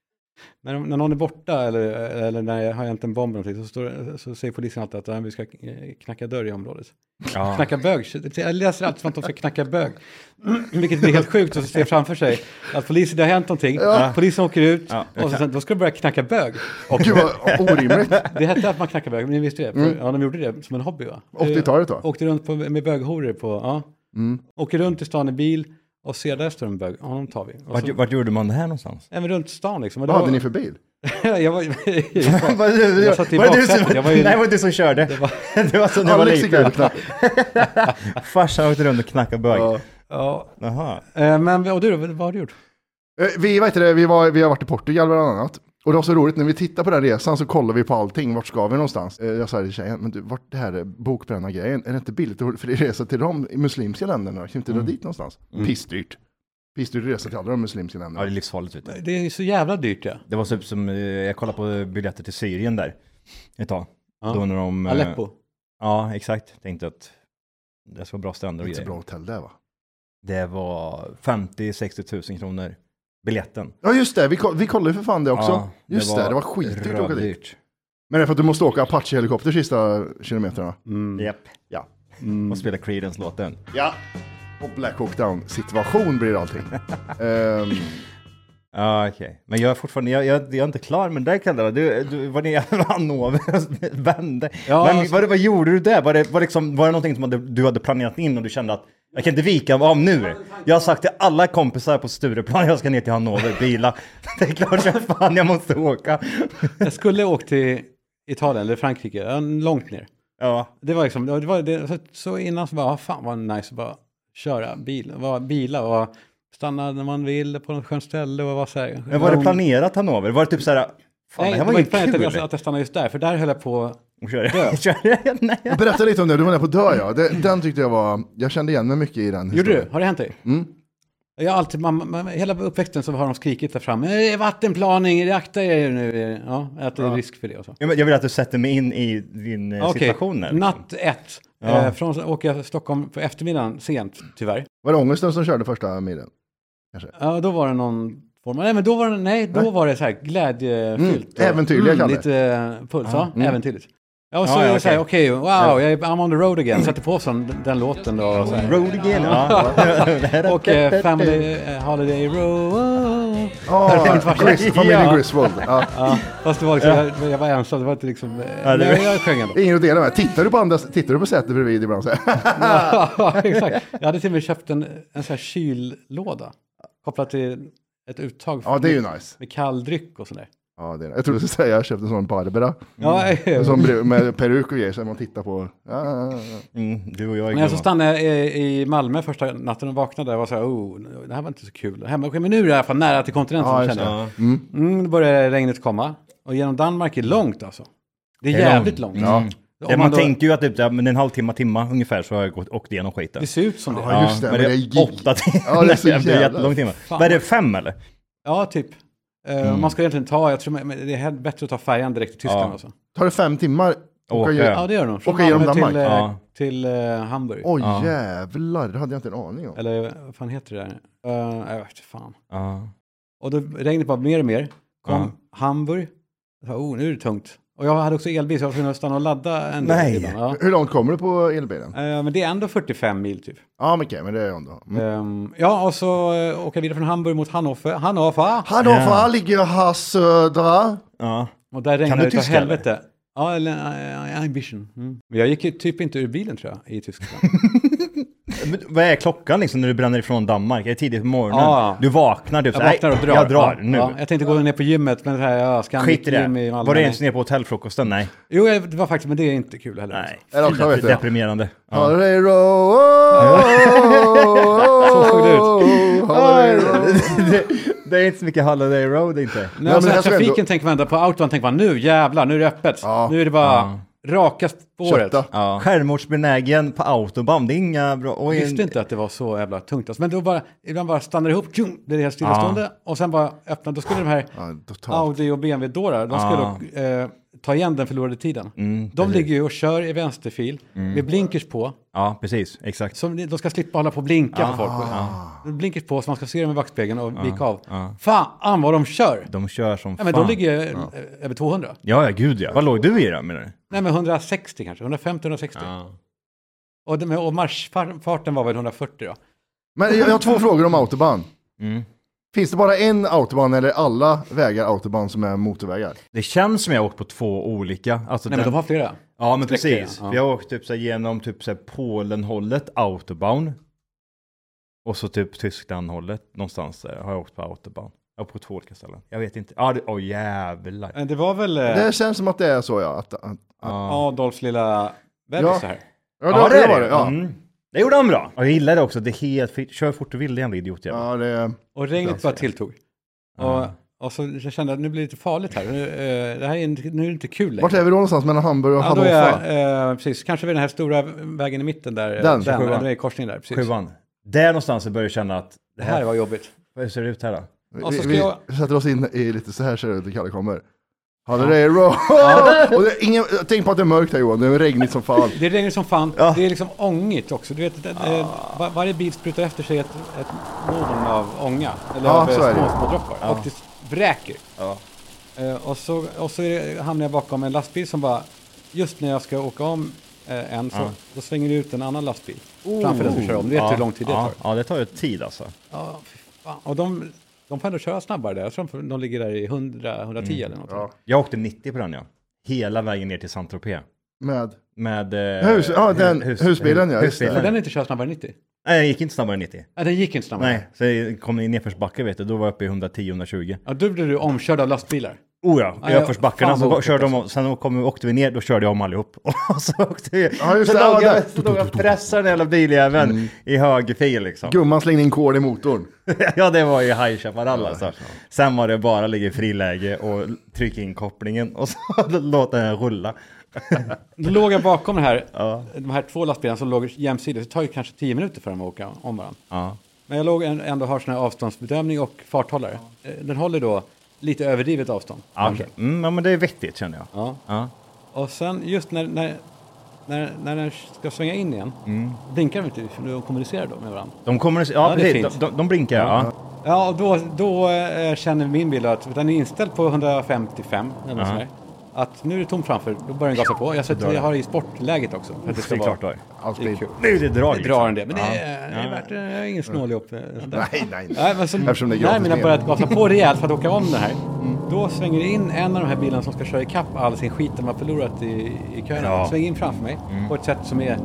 Speaker 2: [LAUGHS] när, de, när någon är borta eller, eller när jag har hänt en bomb eller någonting så, står, det- så säger polisen alltid att "Ja, vi ska eh, knacka dörr i området.
Speaker 1: Ja.
Speaker 2: Knacka bög, jag läser alltid som att de ska knacka bög. [CLEARS THROAT] Vilket blir helt sjukt att se framför sig att polisen, det har hänt någonting, polisen åker ut
Speaker 1: Ja.
Speaker 2: och så sen, då ska de börja knacka bög.
Speaker 3: Gud
Speaker 1: [LAUGHS]
Speaker 3: vad orimligt.
Speaker 2: Det hette att man knackar bög, men ni visste det? Ja, de gjorde det som en hobby va? Eh,
Speaker 3: 80-talet va?
Speaker 2: Åkte runt på, med böghoror på, ja. Åker runt i stan i bil och ser där står en bög, ja de tar vi. Och
Speaker 1: Vart,
Speaker 2: så,
Speaker 1: vart gjorde man det här någonstans?
Speaker 2: även runt stan liksom. Och
Speaker 3: Vad
Speaker 2: det
Speaker 3: hade
Speaker 2: var-
Speaker 3: ni för bil?
Speaker 2: [LAUGHS] jag var,
Speaker 1: Var det-
Speaker 2: Jag satt i
Speaker 1: var det du
Speaker 2: baksätet,
Speaker 1: som,
Speaker 2: jag var ju-
Speaker 1: Nej, det var du som körde. Det var, [LAUGHS] det var så när jag var
Speaker 3: Alex gick
Speaker 1: liten.
Speaker 3: över knappen.
Speaker 1: Farsan åkte runt och knackade bög.
Speaker 3: Ja.
Speaker 2: ja,
Speaker 1: Jaha.
Speaker 2: eh, men och du, vad har du gjort?
Speaker 3: Eh, Vi, vet det, vi, var, vi har varit i Portugal bland annat. Och det var så roligt, när vi tittar på den resan så kollar vi på allting, vart ska vi någonstans? Eh, Jag sa till tjejen, men du, vart det här bokbränna-grejen, är det inte billigt att för resa till de muslimska länderna? Kan vi inte
Speaker 1: Mm.
Speaker 3: dra dit någonstans? Pissdyrt. Pissdyrt att resa till alla de muslimska
Speaker 1: Ja, det är
Speaker 3: länderna.
Speaker 1: livsfarligt vet du.
Speaker 2: Det är ju så jävla dyrt ja.
Speaker 1: Det var typ som, eh, jag kollade på biljetter till Syrien där ett tag.
Speaker 2: Ja.
Speaker 1: Då när de... eh,
Speaker 2: Aleppo.
Speaker 1: Ja, exakt. Tänkte att det ska vara bra stränder och
Speaker 3: Inte så
Speaker 1: grejer.
Speaker 3: bra hotell där va?
Speaker 1: Det var 50-60 tusen kronor biljetten.
Speaker 3: Ja just det, vi, ko- vi kollade ju för fan det också.
Speaker 1: Ja,
Speaker 3: just det, det var skitdyrt att åka dit.
Speaker 1: rövdyrt.
Speaker 3: Men det är för att du måste åka Apache-helikopter sista kilometerna.
Speaker 1: Mm. Japp.
Speaker 3: Mm. Ja. Mm.
Speaker 1: Och spela Creedence-låten.
Speaker 3: Ja. Och Black Hawk Down-situation
Speaker 1: [LAUGHS]
Speaker 3: blir allting. Ehm,
Speaker 1: Ja, okej. Men jag är fortfarande, jag, jag, jag är inte klar med det där Kalle. Du, du var nere [LAUGHS] i Hannover och vände.
Speaker 2: Ja,
Speaker 1: Men,
Speaker 2: alltså-
Speaker 1: vad, vad gjorde du där? Var det, var, liksom, var det någonting som hade- du hade planerat in och du kände att jag kan inte vika av nu? Jag har sagt till alla kompisar på Stureplan, jag ska ner till Hannover, bila. [LAUGHS] Det är klart som fan jag måste åka. [LAUGHS]
Speaker 2: Jag skulle åkt till Italien eller Frankrike, ja, långt ner.
Speaker 1: Ja,
Speaker 2: Det var liksom, det var, det, så, så innan så bara, ah, fan vad nice att bara köra bil, bara bila och stanna när man vill på något skönt ställe och vara så här.
Speaker 1: men var det planerat Hannover? Var det typ så här, fan
Speaker 2: Nej,
Speaker 1: det här var,
Speaker 2: var
Speaker 1: ju
Speaker 2: inte planerat
Speaker 1: kul.
Speaker 2: att
Speaker 1: [LAUGHS]
Speaker 2: jag- att jag stannade just där, för där höll jag på,
Speaker 1: Och [LAUGHS] köra- köra- Nej.
Speaker 3: berätta lite om det, du var nere på Dö ja. Det, den tyckte jag var, jag kände igen mig mycket i den
Speaker 2: gjorde
Speaker 3: historien.
Speaker 2: du? Har det hänt dig?
Speaker 1: Mm.
Speaker 2: Jag har alltid, man, man, hela uppväxten så har de skrikit där framme, "Eh, vattenplaning, akta er nu, ja, att det är risk för det och så.
Speaker 1: Ja, men Jag vill att du sätter mig in i din eh,
Speaker 2: Okej,
Speaker 1: situation. här, liksom.
Speaker 2: natt ett. Eh, från, åker jag till Stockholm på eftermiddagen, sent tyvärr.
Speaker 3: Var det ångesten som körde första milen?
Speaker 2: Ja, då var det någon form av, nej men då var det, nej, då var det så här glädjefyllt.
Speaker 3: Mm,
Speaker 2: Och-
Speaker 3: äventyrliga
Speaker 2: mm,
Speaker 3: kallar det.
Speaker 2: Lite eh, puls, ja, äventyrligt. Ja, och så
Speaker 1: Ja, ja,
Speaker 2: är det så här, okej, wow,
Speaker 1: Ja.
Speaker 2: jag är, I'm on the road again, sätter på sån, den låten då. Och, så här.
Speaker 1: Road again. Ja.
Speaker 2: [LAUGHS]
Speaker 1: [LAUGHS]
Speaker 2: och eh, Family eh, Holiday Road.
Speaker 3: Ja, Gris, [LAUGHS] familjen
Speaker 2: Ja.
Speaker 3: Griswold. Ja.
Speaker 2: Ja, fast det var liksom, jag, jag var ensam, det var inte liksom, eh,
Speaker 1: Ja, det-
Speaker 2: men jag, jag sjöng ändå.
Speaker 3: Ingen att dela med. Tittar du på andra, tittar du på sätet bredvid ibland så här? [LAUGHS]
Speaker 2: [LAUGHS] Ja, exakt. Jag hade till och med köpt en, en sån här kyllåda kopplat till ett uttag
Speaker 3: Ja, det är ju nice.
Speaker 2: med kall dryck och sådär.
Speaker 3: Ja, det är, jag trodde du skulle säga, jag köpte en sån Barbera.
Speaker 2: Ja,
Speaker 3: En sån brev- med peruk och grejer som man tittar på. Ja, ja, ja, ja.
Speaker 1: Mm, du och jag är
Speaker 2: men alltså, jag så
Speaker 1: gumman.
Speaker 2: stannade i, i Malmö första natten och vaknade och var så här, oh, det här var inte så kul. Hemma, okej, men nu är det i alla fall nära till kontinenten,
Speaker 3: Ja, just
Speaker 2: känner jag.
Speaker 1: Ja.
Speaker 2: Mm, då började regnet komma. Och genom Danmark är långt alltså. Det är,
Speaker 1: Det är
Speaker 2: jävligt långt. Mm.
Speaker 1: Ja.
Speaker 2: Om
Speaker 1: Man,
Speaker 2: man då-
Speaker 1: tänker ju att typ, ja, men en halvtimme, timma ungefär så har jag gått, åkt igenom skiten.
Speaker 2: Det ser ut som det.
Speaker 3: Ja,
Speaker 2: Ja,
Speaker 3: just det, men det är gig-
Speaker 1: åtta timmar.
Speaker 3: Ja, det är så
Speaker 1: Nej, [LAUGHS] det är
Speaker 3: jävla-
Speaker 1: jättelång timme. Vad är det, fem eller?
Speaker 2: typ. Eh, Man ska egentligen ta, jag tror men det är hellre- bättre att ta färjan direkt till Tyskland.
Speaker 1: Ja.
Speaker 2: Alltså.
Speaker 3: Tar det fem timmar?
Speaker 1: Åka.
Speaker 3: ge-
Speaker 1: Ja.
Speaker 2: Ja, det gör det nog. Från
Speaker 3: Åka genom
Speaker 2: Malmö till,
Speaker 3: Danmark.
Speaker 2: eh,
Speaker 1: Ja.
Speaker 2: till eh, Hamburg.
Speaker 3: Oj jävlar, det hade jag inte en aning om.
Speaker 2: Eller vad fan heter det där? Eh, jag vet fan.
Speaker 1: Ja.
Speaker 2: Och då regnet bara mer och mer. Kom Hamburg. Jag sa, oh, nu är det tungt. Och jag hade också elbil så jag var tvungen att stanna och ladda en del
Speaker 1: Nej.
Speaker 2: ibland, Ja.
Speaker 3: Hur långt kommer du på elbilen? Ja,
Speaker 2: Eh, Men det är ändå 45 mil typ.
Speaker 3: men okej, men det är jag ändå. Mm.
Speaker 2: Ehm, ja, och så eh, åker jag vidare från Hamburg mot Hannover. Hannover!
Speaker 3: Hannover ligger här södra.
Speaker 1: ja.
Speaker 2: Och där regnade
Speaker 1: du
Speaker 2: det utav
Speaker 1: tyska,
Speaker 2: helvete. Ja, eller eh, ambition. Mm. Men jag gick ju typ inte ur bilen tror jag, i Tyskland.
Speaker 1: Men vad är klockan liksom när du bränner ifrån Danmark? Är det tidigt på morgonen?
Speaker 2: Ja.
Speaker 1: Du vaknar du.
Speaker 2: Jag vaknar och drar.
Speaker 1: Jag drar
Speaker 2: Ja,
Speaker 1: nu.
Speaker 2: Ja, jag tänkte gå ner på gymmet, men det här, ja, Scandic
Speaker 1: Skit i det.
Speaker 2: gym i Malmö.
Speaker 1: Var det
Speaker 2: Nej.
Speaker 1: ens ner på hotellfrukosten? Nej.
Speaker 2: Jo, jag- det var faktiskt, men det är inte kul heller. alltså.
Speaker 1: Nej.
Speaker 3: Eller också,
Speaker 1: Fy,
Speaker 3: vet jag.
Speaker 1: deprimerande.
Speaker 3: [LAUGHS]
Speaker 1: Ja.
Speaker 3: Hallero! Så
Speaker 2: såg det
Speaker 3: ut.
Speaker 1: det, det är inte så mycket Holiday Road inte.
Speaker 2: Nej,
Speaker 3: men
Speaker 2: alltså,
Speaker 3: jag tror
Speaker 2: trafiken
Speaker 3: ändå-
Speaker 2: tänker man ändå på, autobahn tänker man nu jävlar, nu är det öppet.
Speaker 3: Ja.
Speaker 2: Nu är det bara raka spåret.
Speaker 3: Kötta.
Speaker 1: Ja. Självmordsbenägen på autobahn, det är inga bra... Och
Speaker 2: Jag
Speaker 1: en-
Speaker 2: visste inte att det var så jävla tungt. Alltså. Men då bara, ibland bara stannar det ihop, tjum, blir det helt stillastående. Och sen bara öppna, då skulle de här
Speaker 3: Ja, totalt.
Speaker 2: Audi och BMW-dårar, de skulle eh, ta igen den förlorade tiden. de ligger ju och kör i vänsterfil med blinkers på.
Speaker 1: Ja, precis. Exakt.
Speaker 2: Som de ska slippa hålla på och blinka på folk.
Speaker 3: Ah.
Speaker 2: Blinkers på så man ska se dem i backspegeln och vika av. Fan vad de kör!
Speaker 1: De kör som
Speaker 2: Ja, men
Speaker 1: fan.
Speaker 2: de ligger ju eh, över 200.
Speaker 1: Ja, ja, gud ja. Vad låg du i då menar du?
Speaker 2: Nej, men 160 kanske. 150-160. Och, det- och marschfarten var väl 140 då?
Speaker 3: Men jag, jag har två frågor om autobahn.
Speaker 2: Mm.
Speaker 3: Finns det bara en autobahn eller alla vägar autobahn som är motorvägar?
Speaker 1: Det känns som jag har åkt på två olika. Alltså
Speaker 2: Nej,
Speaker 1: den-
Speaker 2: men de har flera.
Speaker 1: Ja, men
Speaker 2: sträckor,
Speaker 1: precis.
Speaker 2: ja.
Speaker 1: Vi har åkt typ så här, genom typ så här, Polen-hållet, autobahn. Och så typ Tyskland-hållet, någonstans där har jag åkt på autobahn. Jag har åkt på två olika ställen. Jag vet inte. Ja, det, åh jävlar.
Speaker 2: Eh, Det var väl eh,
Speaker 3: Det känns som att det är så ja. Att, att,
Speaker 2: Adolfs lilla bebis
Speaker 3: Ja.
Speaker 2: så här.
Speaker 3: ja, det, det var det. Ja,
Speaker 1: Mm. Det gjorde han bra. Jag gillar det också. Det är helt fritt. Kör fort du vill, jävla idiot jävla.
Speaker 3: ja det,
Speaker 2: Och regnet bara tilltog. Och, och så jag kände jag att nu blir det lite farligt här. Nu, eh, det här är, inte- nu är det inte kul längre.
Speaker 3: vart är vi då någonstans mellan Hamburg och
Speaker 2: Ja, då
Speaker 3: Hannover?
Speaker 2: är jag, eh, precis. Kanske vid den här stora vägen i mitten där. eh,
Speaker 3: Den,
Speaker 2: den,
Speaker 1: sjuan.
Speaker 2: den är i korsningen där. Precis.
Speaker 1: Sjuan. Där någonstans jag börjar känna att det
Speaker 2: Det här
Speaker 1: här,
Speaker 2: var jobbigt.
Speaker 1: hur ser det ut här då?
Speaker 2: Och så
Speaker 3: Vi,
Speaker 2: ska
Speaker 3: vi
Speaker 2: jag...
Speaker 3: sätter oss in i lite så här ser det ut när Kalle kommer. Hallero! Och det är ingen, tänk på att det är mörkt här Johan, det är regnigt som fan.
Speaker 2: Det regnar som fan. Det är liksom ångigt också. Du vet, det, det, var, varje bil sprutar efter sig ett, ett moln av ånga. Eller
Speaker 3: Ja,
Speaker 2: av eh,
Speaker 3: så är det.
Speaker 2: små, små droppar. Och det vräker. Eh, och så, och så är det, hamnar jag bakom en lastbil som bara... Just när jag ska åka om eh, en så då svänger det ut en annan lastbil. Oh. Framför den som kör om. Du vet hur lång tid det
Speaker 1: ja,
Speaker 2: tar.
Speaker 1: Ja, det tar ju tid alltså.
Speaker 2: Ja, fy fan. Och de, de får ändå köra snabbare där. Jag tror de, de ligger där i 100, 110 eller något.
Speaker 1: Jag åkte 90 på den ja. Hela vägen ner till Saint-Tropez.
Speaker 3: Med,
Speaker 1: Med... eh,
Speaker 3: Hus- ja, den- husbilen, ja, just det.
Speaker 2: För den inte kör snabbare än 90.
Speaker 1: Nej, jag gick inte snabbare än 90.
Speaker 2: Nej, den gick inte snabbare.
Speaker 1: Nej, så jag kom i nedförsbacke vet du, då var jag uppe i 110-120.
Speaker 2: Ja, då blev du omkörd av lastbilar.
Speaker 1: Oh ja, i
Speaker 2: jag-
Speaker 1: uppförsbackarna
Speaker 2: fan
Speaker 1: så
Speaker 2: vad
Speaker 1: var- körde de, sen kom, åkte vi ner, då körde jag om allihop. [LAUGHS] Och så åkte vi,
Speaker 3: Ja, just
Speaker 1: så
Speaker 3: det, Mm. ja,
Speaker 1: låg jag,
Speaker 3: där.
Speaker 1: så låg jag och pressade den jävla biljäveln i högerfil liksom.
Speaker 3: gumman slängde in kol i motorn.
Speaker 1: [LAUGHS] ja, det var ju High Chaparral alltså. Sen var det bara ligga i friläge och trycka in kopplingen och så [LAUGHS] låta den
Speaker 3: [LAUGHS]
Speaker 1: rulla.
Speaker 2: Då låg jag bakom det här, de här två lastbilarna som låg jämsides. Det tar ju kanske 10 minuter för dem att åka om varandra.
Speaker 1: Ja.
Speaker 2: Men jag låg en- ändå och har sån här avståndsbedömning och farthållare. Eh, Den håller då lite överdrivet avstånd.
Speaker 1: Ja,
Speaker 2: kanske.
Speaker 1: okej. Mm, ja, men det är vettigt känner jag.
Speaker 2: Ja.
Speaker 1: Ja.
Speaker 2: Och sen just när, när, när, när den ska svänga in igen, blinkar de inte, för de kommunicerar då med varandra.
Speaker 1: De kommer, ja,
Speaker 2: Ja, det är
Speaker 1: precis, de,
Speaker 2: fint.
Speaker 1: de, de blinkar ja.
Speaker 2: Ja, och då, då eh, känner min bil att den är inställd på 155 eller något sånt där. Att nu är det tomt framför, då börjar den gasa på. Jag, sätter, jag har i sportläget också. För att det ska
Speaker 1: Det är
Speaker 2: vara
Speaker 1: klart då.
Speaker 2: det är
Speaker 3: Alltid.
Speaker 2: kul.
Speaker 1: Nu är det drag.
Speaker 2: Det
Speaker 1: liksom.
Speaker 2: drar en del, men det är, det är värt det. Jag är ingen snåljåp. eh, sånt där.
Speaker 3: Nej, nej, nej.
Speaker 2: Nej, men så,
Speaker 3: Eftersom det är
Speaker 2: när
Speaker 3: gratis
Speaker 2: mina
Speaker 3: med. Mm.
Speaker 2: börjat gasa på rejält för att åka om den här, då svänger det in en av de här bilarna som ska köra ikapp all sin skit de har förlorat i, i kön.
Speaker 1: Ja.
Speaker 2: Svänger in framför mig
Speaker 3: Mm.
Speaker 2: på ett sätt som är...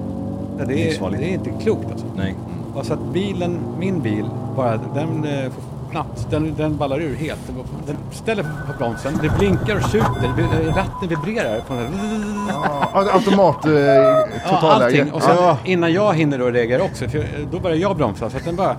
Speaker 2: Ja, det, är
Speaker 1: Livsfarligt.
Speaker 2: det är inte klokt alltså.
Speaker 1: Nej.
Speaker 2: Och så att bilen, min bil, bara, den eh, får knappt, den, den ballar ur helt. Den, går- den ställer på bromsen, det blinkar och tjuter, vi- eh, ratten vibrerar. På den här,
Speaker 3: Ja, Automat, eh,
Speaker 2: ja, allting.
Speaker 3: totalläge.
Speaker 2: Och sen
Speaker 3: Ja.
Speaker 2: innan jag hinner då reagera också, för eh, då börjar jag bromsa så att den bara,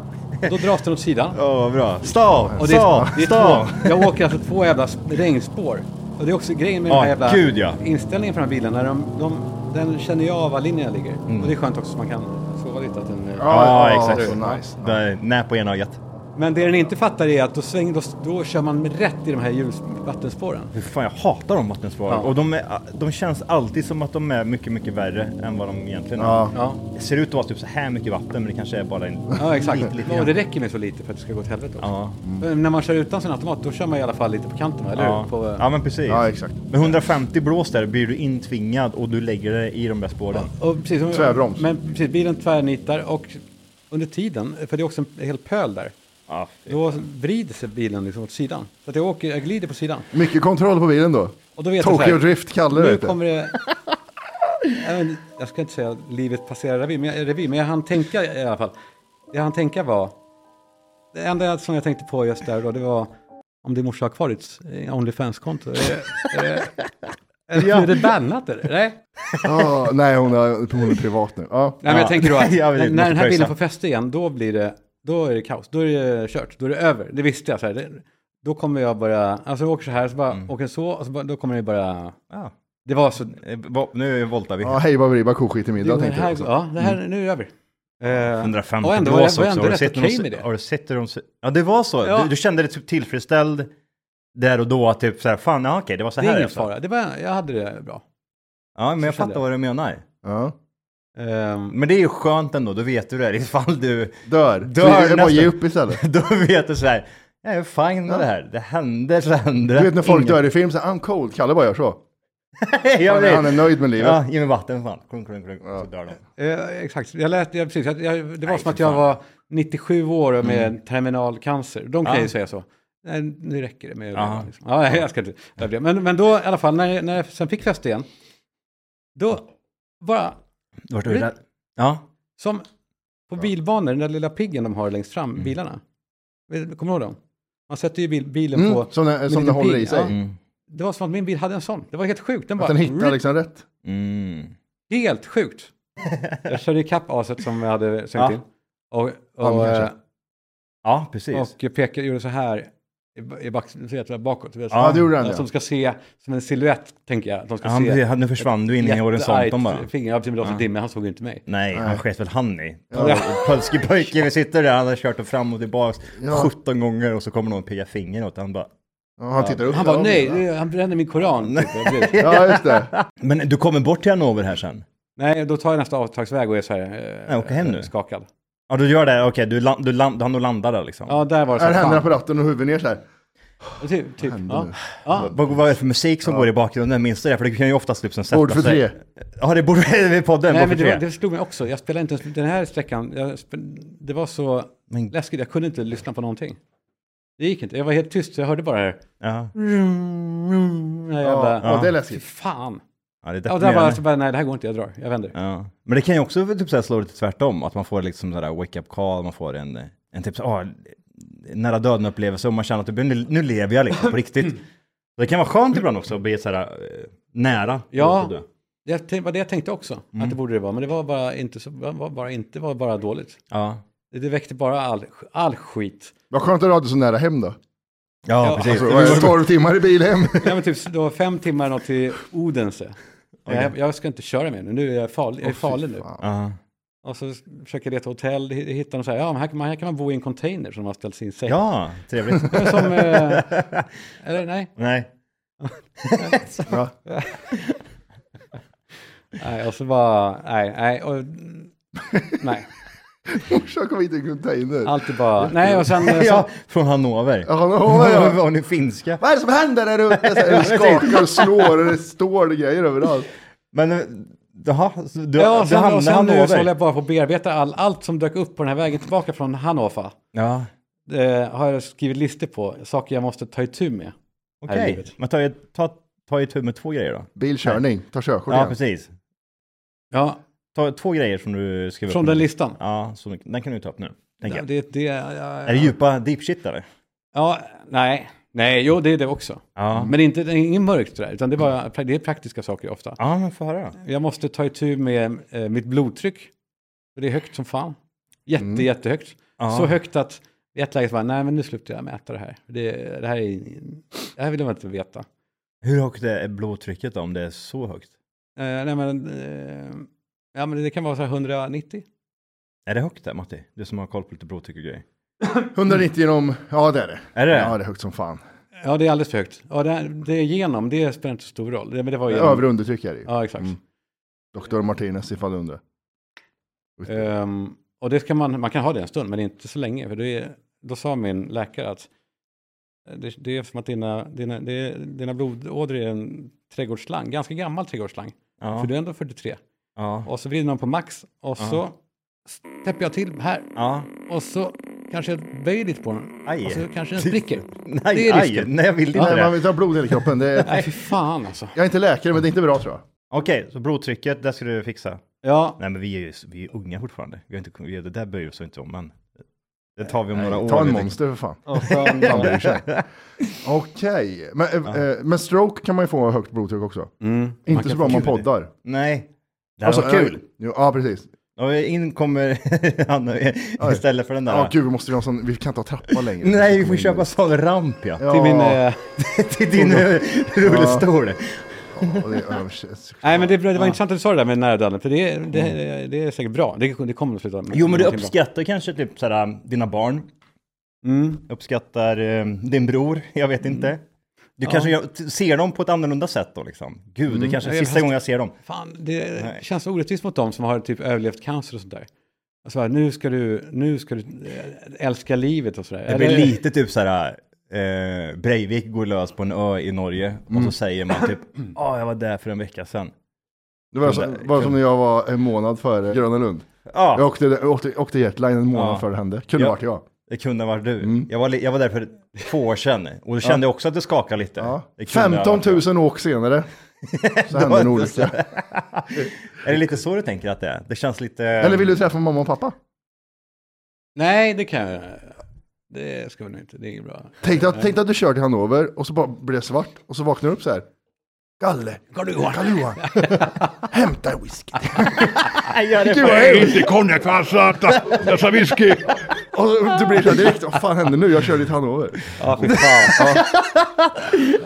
Speaker 2: då dras den åt sidan.
Speaker 1: Ja, vad bra. Stå!
Speaker 2: Och det
Speaker 1: Stå!
Speaker 2: är, det är
Speaker 1: Stå!
Speaker 2: två, jag åker alltså två jävla s- regnspår. Och det är också grejen med den
Speaker 1: Ja,
Speaker 2: här jävla
Speaker 1: gud, ja.
Speaker 2: inställningen för den här bilen. När de, de, den känner jag av var linjerna ligger. Och det är skönt också så man kan sova lite. Att den, eh,
Speaker 1: Mm. Ja,
Speaker 3: Ja,
Speaker 1: exakt.
Speaker 3: Så nice.
Speaker 1: Där, nä på ena ögat.
Speaker 2: Men det den inte fattar är att då, sväng, då, då kör man rätt i de här hjul- vattenspåren.
Speaker 1: Hur fan, jag hatar de vattenspåren.
Speaker 2: Ja.
Speaker 1: Och de, är, de känns alltid som att de är mycket, mycket värre än vad de egentligen är.
Speaker 3: Ja.
Speaker 2: Ja,
Speaker 1: Det ser ut att vara typ så här mycket vatten, men det kanske är bara en...
Speaker 2: ja exakt.
Speaker 1: Lite, lite
Speaker 2: och det
Speaker 1: grann.
Speaker 2: räcker med så lite för att det ska gå åt helvete också.
Speaker 1: Ja. Mm.
Speaker 2: Men När man kör utan sin automat då kör man i alla fall lite på kanten, va? eller
Speaker 1: Ja.
Speaker 2: hur? På, eh,
Speaker 1: ja, men precis.
Speaker 3: Ja, exakt.
Speaker 1: Med 150 blås där blir du intvingad och du lägger dig i de där spåren.
Speaker 2: Och precis, om-
Speaker 3: Tvärbroms.
Speaker 2: Men precis, bilen tvärnitar och under tiden, för det är också en hel pöl där,
Speaker 1: Ja, fy.
Speaker 2: då vrider sig bilen liksom åt sidan. Så att jag, åker, jag glider på sidan.
Speaker 3: Mycket kontroll på bilen då.
Speaker 2: Och då vet jag så
Speaker 3: Tokyo
Speaker 2: här,
Speaker 3: Drift, Kalle
Speaker 2: Nu
Speaker 3: vet det.
Speaker 2: kommer det... Jag, vet, jag ska inte säga att livet passerar revy, men, jag- revy, men jag hann tänka i alla fall. Det jag hann tänka var... Det enda som jag tänkte på just där då, det var om din morsa har kvar ditt eh, Onlyfans-konto. Är det- är det- är det- Är det bannat eller? Nej?
Speaker 3: Ja, nej, hon är, hon är privat nu. Ja.
Speaker 2: Nej, men jag
Speaker 1: Ja.
Speaker 2: tänker då att
Speaker 1: Jag vet,
Speaker 2: när, när den
Speaker 1: måste
Speaker 2: här
Speaker 1: pröjsa.
Speaker 2: bilen får fäste igen, då blir det, då är det kaos. Då är det kört, då är det över. Det visste jag. Så här, det, då kommer jag börja, alltså jag åker så här, så bara åker så, och så bara, då kommer det bara,
Speaker 1: Ja.
Speaker 2: det var så,
Speaker 1: Eh, va- Nu voltar vi.
Speaker 3: Ja, hej baberiba, koskit i middag
Speaker 2: det
Speaker 3: tänkte
Speaker 2: här,
Speaker 3: jag. också.
Speaker 2: ja, det här, nu är det över. Eh,
Speaker 1: 150
Speaker 2: och ändå var
Speaker 1: blås
Speaker 2: jag, var
Speaker 1: också.
Speaker 2: jag ändå
Speaker 1: Har du
Speaker 2: rätt
Speaker 1: sett hur
Speaker 2: okej
Speaker 1: de
Speaker 2: med
Speaker 1: ser-
Speaker 2: det.
Speaker 1: Har du sett hur de ser- Ja, det var så.
Speaker 2: Ja.
Speaker 1: Du, du kände dig typ tillfredsställd där och då. Typ så här, fan, ja, okej, det var så
Speaker 2: Det
Speaker 1: här.
Speaker 2: är
Speaker 1: i
Speaker 2: ingen
Speaker 1: alla fall.
Speaker 2: fara, det var, jag hade det bra.
Speaker 1: Ja, men jag
Speaker 2: Så kände
Speaker 1: fattar vad du menar.
Speaker 3: Ja.
Speaker 2: Ehm,
Speaker 1: Men det är ju skönt ändå, då vet du det. här. [LAUGHS] Ifall du... Dör
Speaker 3: Dör. Dör nästa. Bara
Speaker 1: nästan.
Speaker 3: ge upp istället.
Speaker 1: Då vet du så här, jag är fine med det här. Det hände, så hände
Speaker 3: Du vet när folk dör i film, så här, I'm cold, Kalle bara gör så.
Speaker 1: [LAUGHS] jag
Speaker 3: Han är, han är
Speaker 1: vet.
Speaker 3: nöjd med livet.
Speaker 1: Ja, ge mig vatten fan. Klunk, klunk, klunk. Så dör de.
Speaker 2: eh, exakt, jag lät, jag, precis, jag, jag, det var
Speaker 1: Nej,
Speaker 2: som att
Speaker 1: för
Speaker 2: jag
Speaker 1: fan. Mm.
Speaker 2: var 97 år och med terminal cancer. De kan
Speaker 1: Ja.
Speaker 2: ju säga så. Nej, nu räcker det med
Speaker 1: Ja.
Speaker 2: liksom. ja, nej, jag ska inte överdriva. men, men då i alla fall, när, när jag sen fick fäste igen, då bara,
Speaker 1: Vart
Speaker 2: du
Speaker 1: där? Ja.
Speaker 2: som på bilbanor, den där lilla piggen de har längst
Speaker 1: Mm.
Speaker 2: fram, bilarna. Kommer du ihåg dem? Man sätter ju bil, bilen på...
Speaker 3: Mm, som den,
Speaker 2: med
Speaker 3: som
Speaker 2: liten
Speaker 3: den håller i
Speaker 2: pigg,
Speaker 3: sig.
Speaker 2: ja.
Speaker 1: Mm.
Speaker 2: Det var som att min bil hade en sån. Det var helt sjukt. Den bara...
Speaker 3: Att den hittar liksom rätt.
Speaker 1: Mm.
Speaker 2: Helt sjukt. Jag körde ikapp aset som jag hade
Speaker 1: Ja.
Speaker 2: sänkt in. Och,
Speaker 3: Ja,
Speaker 2: och,
Speaker 3: men
Speaker 2: eh,
Speaker 3: kanske.
Speaker 1: Ja, precis.
Speaker 2: och jag pekade, gjorde så här i ba- i back, så heter det bakåt. vet du,
Speaker 3: Ja,
Speaker 2: så-
Speaker 3: det gjorde den, ja.
Speaker 2: Som ska se som en silhuett, tänker jag. att De ska
Speaker 1: ja, men
Speaker 2: se
Speaker 1: precis. nu försvann du in i horisonten bara.
Speaker 2: finger. Ja, precis, men det var så dimma, han såg ju inte mig.
Speaker 1: Nej, han
Speaker 3: Nej.
Speaker 1: sket väl han i.
Speaker 3: Ja.
Speaker 1: Polske pojken vi sitter där, han har kört dem fram och tillbaks
Speaker 3: Ja.
Speaker 1: 17 gånger och så kommer någon och piggar fingret åt han bara.
Speaker 3: Ja, han tittar upp.
Speaker 2: Han bara,
Speaker 3: Ja,
Speaker 2: nej,
Speaker 3: ja.
Speaker 2: det- han brände min koran. typ. Jag blev-
Speaker 3: [LAUGHS] Ja, just det.
Speaker 1: Men du kommer bort till Hannover här sen?
Speaker 2: nej, då tar jag nästa avtagsväg och är så här eh,
Speaker 1: Ja, åker hem nu.
Speaker 2: skakad.
Speaker 1: Ja, du gör det? Okej, du, land, du, land, han landar där liksom?
Speaker 2: Ja, där var det så
Speaker 3: Här
Speaker 2: här.
Speaker 3: händerna
Speaker 2: [LAUGHS]
Speaker 3: på
Speaker 2: fan.
Speaker 3: ratten och huvudet ner så här.
Speaker 2: Typ, typ.
Speaker 3: hände
Speaker 2: Ja.
Speaker 3: nu?
Speaker 2: Ja.
Speaker 1: Vad, vad är det för musik som går i bakgrunden? Minns du det? För det kan ju oftast liksom sätta
Speaker 3: Bord för
Speaker 1: sig.
Speaker 3: tre.
Speaker 1: Ja, det borde [LAUGHS] vi podden.
Speaker 2: Nej,
Speaker 1: bord för
Speaker 2: men det,
Speaker 1: tre.
Speaker 2: var, det slog mig också. Jag spelade inte ens den här sträckan. Jag sp- det var så
Speaker 1: Men-
Speaker 2: läskigt. Jag kunde inte lyssna på någonting. Det gick inte. Jag var helt tyst, så jag hörde bara det här.
Speaker 1: Ja.
Speaker 2: Ja, jag
Speaker 3: Ja,
Speaker 2: bara,
Speaker 3: ja, det är
Speaker 2: fy
Speaker 3: läskigt.
Speaker 2: fan.
Speaker 1: ja, det är
Speaker 2: Ja, där var
Speaker 1: deprimerande.
Speaker 2: jag så bara, nej, det här går inte. Jag drar. Jag vänder.
Speaker 1: Ja. Men det kan ju också typ så här slå lite tvärtom, att man får liksom sådär wake-up call, man får en, en typ så, ah, nära döden upplevelse och man känner att typ, nu, nu lever jag liksom på riktigt.
Speaker 2: [CLEARS THROAT]
Speaker 1: Det kan vara skönt ibland också att bli sådär eh, nära.
Speaker 2: Ja.
Speaker 1: att dö. Mm.
Speaker 2: Jag tänkte, var det jag tänkte också, att det borde det vara. Men det var bara inte, så, var bara, inte, var bara dåligt.
Speaker 1: Ja.
Speaker 2: Det, det väckte bara all, all skit.
Speaker 3: Vad skönt att du hade så nära hem då.
Speaker 1: Ja, alltså,
Speaker 2: Ja,
Speaker 1: precis.
Speaker 3: Så, vad är det, 12 timmar i bil hem.
Speaker 2: Ja, men typ, det var fem timmar något till Odense. Jag, jag ska inte köra mer nu. Nu är jag farlig, jag är farlig nu.
Speaker 1: Ja.
Speaker 2: Och så försöker jag leta hotell, hi- hittar de så här, ja men här kan man, här kan man bo i en container som de har ställt sin säng.
Speaker 1: ja,
Speaker 2: [LAUGHS]
Speaker 1: trevligt.
Speaker 2: Det är Som, eh, [LAUGHS] eller nej,
Speaker 1: Nej.
Speaker 3: Ja.
Speaker 2: nej, och så bara, nej, nej, och, mm, nej,
Speaker 3: Morsan kom hit i en container.
Speaker 2: allt är
Speaker 1: [LAUGHS]
Speaker 2: bara, nej och sen, eh,
Speaker 1: Ja,
Speaker 2: så,
Speaker 1: från Hannover.
Speaker 3: Ja, Hannover, ja.
Speaker 1: [LAUGHS] Var ni finska?
Speaker 3: Vad är det som händer där ute? Så här, Det skakar och slår och det står grejer överallt.
Speaker 1: Men, eh, jaha, så du,
Speaker 2: ja, och
Speaker 1: du
Speaker 2: sen, och
Speaker 1: hamnade
Speaker 2: sen nu så
Speaker 1: Hannover?
Speaker 2: håller jag bara på att bearbeta all, allt som dök upp på den här vägen tillbaka från Hannover.
Speaker 1: Ja,
Speaker 2: Eh, har jag skrivit listor på, saker jag måste ta itu med. här i
Speaker 1: okej.
Speaker 2: livet.
Speaker 1: Men ta, ta, ta itu med två grejer då.
Speaker 3: Bilkörning, ta körkort
Speaker 1: Ja,
Speaker 3: igen.
Speaker 1: precis.
Speaker 2: Ja,
Speaker 1: Ta två grejer som du skriver
Speaker 2: från
Speaker 1: upp.
Speaker 2: den listan.
Speaker 1: Ja, så, den kan du ta upp nu. Tänker
Speaker 2: Ja,
Speaker 1: jag.
Speaker 2: det, det, ja,
Speaker 1: Är det djupa deep shit eller?
Speaker 2: ja, nej, nej, jo det är det också.
Speaker 1: Ja.
Speaker 2: Men det är inte, det är ingen mörkt sådär, utan det är, bara, det är praktiska saker ofta.
Speaker 1: Ja, men få höra.
Speaker 2: Jag måste ta itu med eh, mitt blodtryck. Det är högt som fan. Jätte, jättehögt.
Speaker 1: Ja.
Speaker 2: Så högt att i ett läge så bara, nej men nu slutar jag mäta det här. Det, det, här, är, det här vill jag inte veta.
Speaker 1: Hur högt är blodtrycket då, om det är så högt?
Speaker 2: Eh, nej men, eh, ja men det kan vara så här 190.
Speaker 1: Är det högt där, Matti? Du som har koll på lite blodtryck och grejer.
Speaker 3: 190 genom, ja det är det.
Speaker 1: Är det det?
Speaker 3: Ja, det är högt som fan.
Speaker 2: Ja, det är alldeles för högt. Ja, det, är- det är genom, det spelar inte så stor roll. Det, men det var genom.
Speaker 3: Över och undertryck är det ju.
Speaker 2: Ja, exakt.
Speaker 3: Dr. Martinez ifall du undrar.
Speaker 2: Ehm, och det ska man, man kan ha det en stund, men inte så länge. För det är, då sa min läkare att eh, det, det är som att dina, dina, det, är- dina blodådror är en trädgårdsslang, ganska gammal trädgårdsslang.
Speaker 1: Ja.
Speaker 2: För du är ändå 43.
Speaker 1: Ja.
Speaker 2: Och så vrider man på max och så täpper jag till här.
Speaker 1: Ja.
Speaker 2: Och så kanske jag böjer lite på den.
Speaker 1: Aj.
Speaker 2: Och så kanske den spricker.
Speaker 1: Nej,
Speaker 2: det är
Speaker 1: aj,
Speaker 2: risken.
Speaker 1: nej jag vill inte
Speaker 3: Nej, man
Speaker 1: det.
Speaker 3: vill ta blod i hela kroppen. Det
Speaker 1: [LAUGHS]
Speaker 3: är,
Speaker 2: Nej, fy fan alltså.
Speaker 3: jag är inte läkare, men det är inte bra tror jag.
Speaker 1: Okej, så blodtrycket, det ska du fixa.
Speaker 2: Ja,
Speaker 1: Nej, men vi är ju vi är unga fortfarande. Vi har inte, vi, det där bryr vi oss inte om, men det tar vi om några år.
Speaker 3: Ta en
Speaker 1: Vi-
Speaker 3: monster för fan.
Speaker 2: och sen,
Speaker 3: Man bryr sig. Okej, men, eh, eh, men stroke kan man ju få högt blodtryck också.
Speaker 1: Mm.
Speaker 3: Inte så bra om man poddar.
Speaker 1: Nej. Det här var Alltså, kul.
Speaker 3: eh, jo, ja, precis.
Speaker 1: Och in kommer [LAUGHS] han eh, istället för den där.
Speaker 3: Ja, gud, vi måste ju ha en sån, vi kan inte ha trappa
Speaker 1: [LAUGHS]
Speaker 3: längre.
Speaker 1: Nej, vi
Speaker 3: Kommer
Speaker 1: får
Speaker 3: in
Speaker 1: köpa
Speaker 3: där.
Speaker 1: sån ramp ja.
Speaker 3: Ja,
Speaker 2: till min... eh,
Speaker 1: Till din eh, rullstol.
Speaker 3: och det är övers-
Speaker 2: Nej, men det, det var intressant att du sa det där med nära döden, för det, det, det är säkert bra. Det, det kommer att sluta med
Speaker 1: Jo, men du
Speaker 2: någonting bra.
Speaker 1: uppskattar kanske typ sådär, dina barn.
Speaker 2: Mm.
Speaker 1: Uppskattar eh, din bror, jag vet inte. Du kanske gör- t- ser dem på ett annorlunda sätt då liksom. Gud, det kanske är
Speaker 2: Ja,
Speaker 1: sista
Speaker 2: fast-
Speaker 1: gången jag ser dem.
Speaker 2: Fan, det känns så orättvist mot dem som har typ överlevt cancer och sånt där. Alltså, bara, nu ska du, nu ska du eh, älska livet och sådär.
Speaker 1: Det blir lite typ så här. Eh, Breivik går lös på en ö i Norge och så säger man typ ja, jag var där för en vecka sedan.
Speaker 3: Det var, så, var som när jag var en månad före Gröna Lund.
Speaker 1: Ja,
Speaker 3: Jag åkte, jag åkte, jag åkte jetline en månad
Speaker 1: Ja.
Speaker 3: före det hände. Kunde
Speaker 1: Ja.
Speaker 3: varit jag.
Speaker 1: det kunde ha varit du. Jag, var, li- jag var där för två år sedan och då kände jag också att det skakade lite.
Speaker 3: Ja.
Speaker 1: Det kunde ha varit
Speaker 3: 15
Speaker 1: jag.
Speaker 3: 000
Speaker 1: [LAUGHS]
Speaker 3: åk senare. Så hände en olycka.
Speaker 1: Är det lite så du tänker att det är? Det känns lite...
Speaker 3: Eller vill du träffa mamma och pappa?
Speaker 2: Nej, det kan jag Det ska vi nog inte, det är inget bra.
Speaker 3: Tänk dig att, tänk dig att du kör till Hannover och så bara blir det svart och så vaknar du upp så här. Galle,
Speaker 1: [LAUGHS]
Speaker 2: Karl-Johan.
Speaker 3: Karl-Johan, hämta whisky.
Speaker 1: Nej, gör det
Speaker 3: Gud,
Speaker 1: för-
Speaker 3: vad hemskt.
Speaker 5: Inte konjak för satan! Jag sa whisky!
Speaker 3: Och du blir så här direkt, vad fan hände nu? Jag körde till Hannover.
Speaker 2: Ja, fy fan. Ja.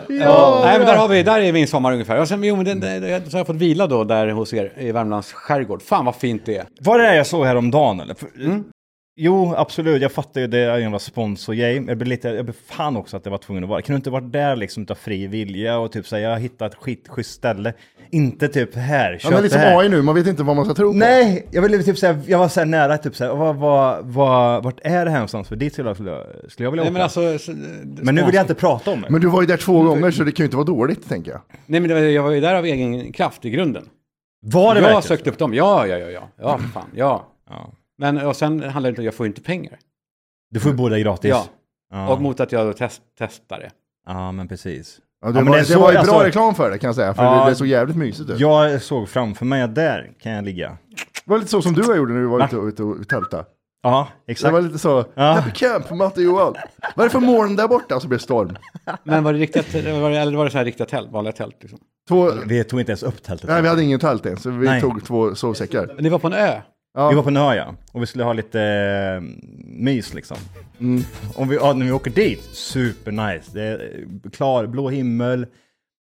Speaker 2: ja. Nej, men där, har vi, där är min sommar ungefär. Och sen, jo, men den, den, den, så har jag fått vila då där hos er i Värmlands skärgård. Fan vad fint det är.
Speaker 1: Var det det jag såg häromdagen eller? För-
Speaker 3: Mm.
Speaker 1: Jo, absolut, jag fattar ju det är ju en spons och grej. Jag blev lite, jag blev fan också att jag var tvungen att vara. Kan du inte varit där liksom utav fri vilja och typ säga jag har hittat ett skitschysst ställe. Inte typ här,
Speaker 3: Ja,
Speaker 1: köp
Speaker 3: men
Speaker 1: det
Speaker 3: liksom
Speaker 1: här.
Speaker 3: AI nu, man vet inte vad man ska tro på.
Speaker 1: Nej, jag ville typ säga, jag var så här nära typ så här, vad, vad, vad, vart är det här någonstans? För dit skulle jag, skulle jag vilja
Speaker 2: Nej,
Speaker 1: åka.
Speaker 2: men, alltså,
Speaker 1: men nu vill jag inte prata om det.
Speaker 3: Men du var ju där
Speaker 1: Mm.
Speaker 3: två gånger så det kan ju inte vara dåligt, tänker jag.
Speaker 2: Nej, men det var, jag var ju där av egen kraft i grunden.
Speaker 1: var det
Speaker 2: jag
Speaker 1: verkligen?
Speaker 2: sökte upp dem. Ja, ja, ja, ja. Ja, för fan. Ja.
Speaker 1: Ja.
Speaker 2: Men och sen handlar det inte om, jag får ju inte pengar.
Speaker 1: Du får ju båda gratis.
Speaker 2: Ja.
Speaker 1: ja.
Speaker 2: Och mot att jag då test, testar det.
Speaker 1: Ja, men precis.
Speaker 3: Ja, det,
Speaker 1: Ja, men
Speaker 3: var,
Speaker 1: det
Speaker 3: det,
Speaker 1: är så-
Speaker 3: var ju bra
Speaker 1: alltså-
Speaker 3: reklam för det kan jag säga, för
Speaker 1: Ja.
Speaker 3: det, det såg jävligt mysigt ut.
Speaker 1: Jag såg framför mig att där kan jag ligga.
Speaker 3: Det var lite så som du gjorde när du var ute och, ute och tältade.
Speaker 1: Ja,
Speaker 3: Det
Speaker 1: exakt.
Speaker 3: var lite så, happy camp, Matte och Johan. Vad är det för moln där borta? Så blev det storm.
Speaker 2: Men var det riktiga, var det, eller var det så här riktiga tält, vanliga tält liksom?
Speaker 3: Två,
Speaker 1: Vi tog inte ens upp tältet.
Speaker 3: nej, vi hade ingen tält ens, så vi
Speaker 1: Nej.
Speaker 3: tog två sovsäckar.
Speaker 2: Men det var på en ö.
Speaker 1: Vi var på en ö ja, och vi skulle ha lite eh, mys liksom.
Speaker 3: Mm.
Speaker 1: Om vi, ja, när vi åker dit, supernice. Det är eh, klar, blå himmel.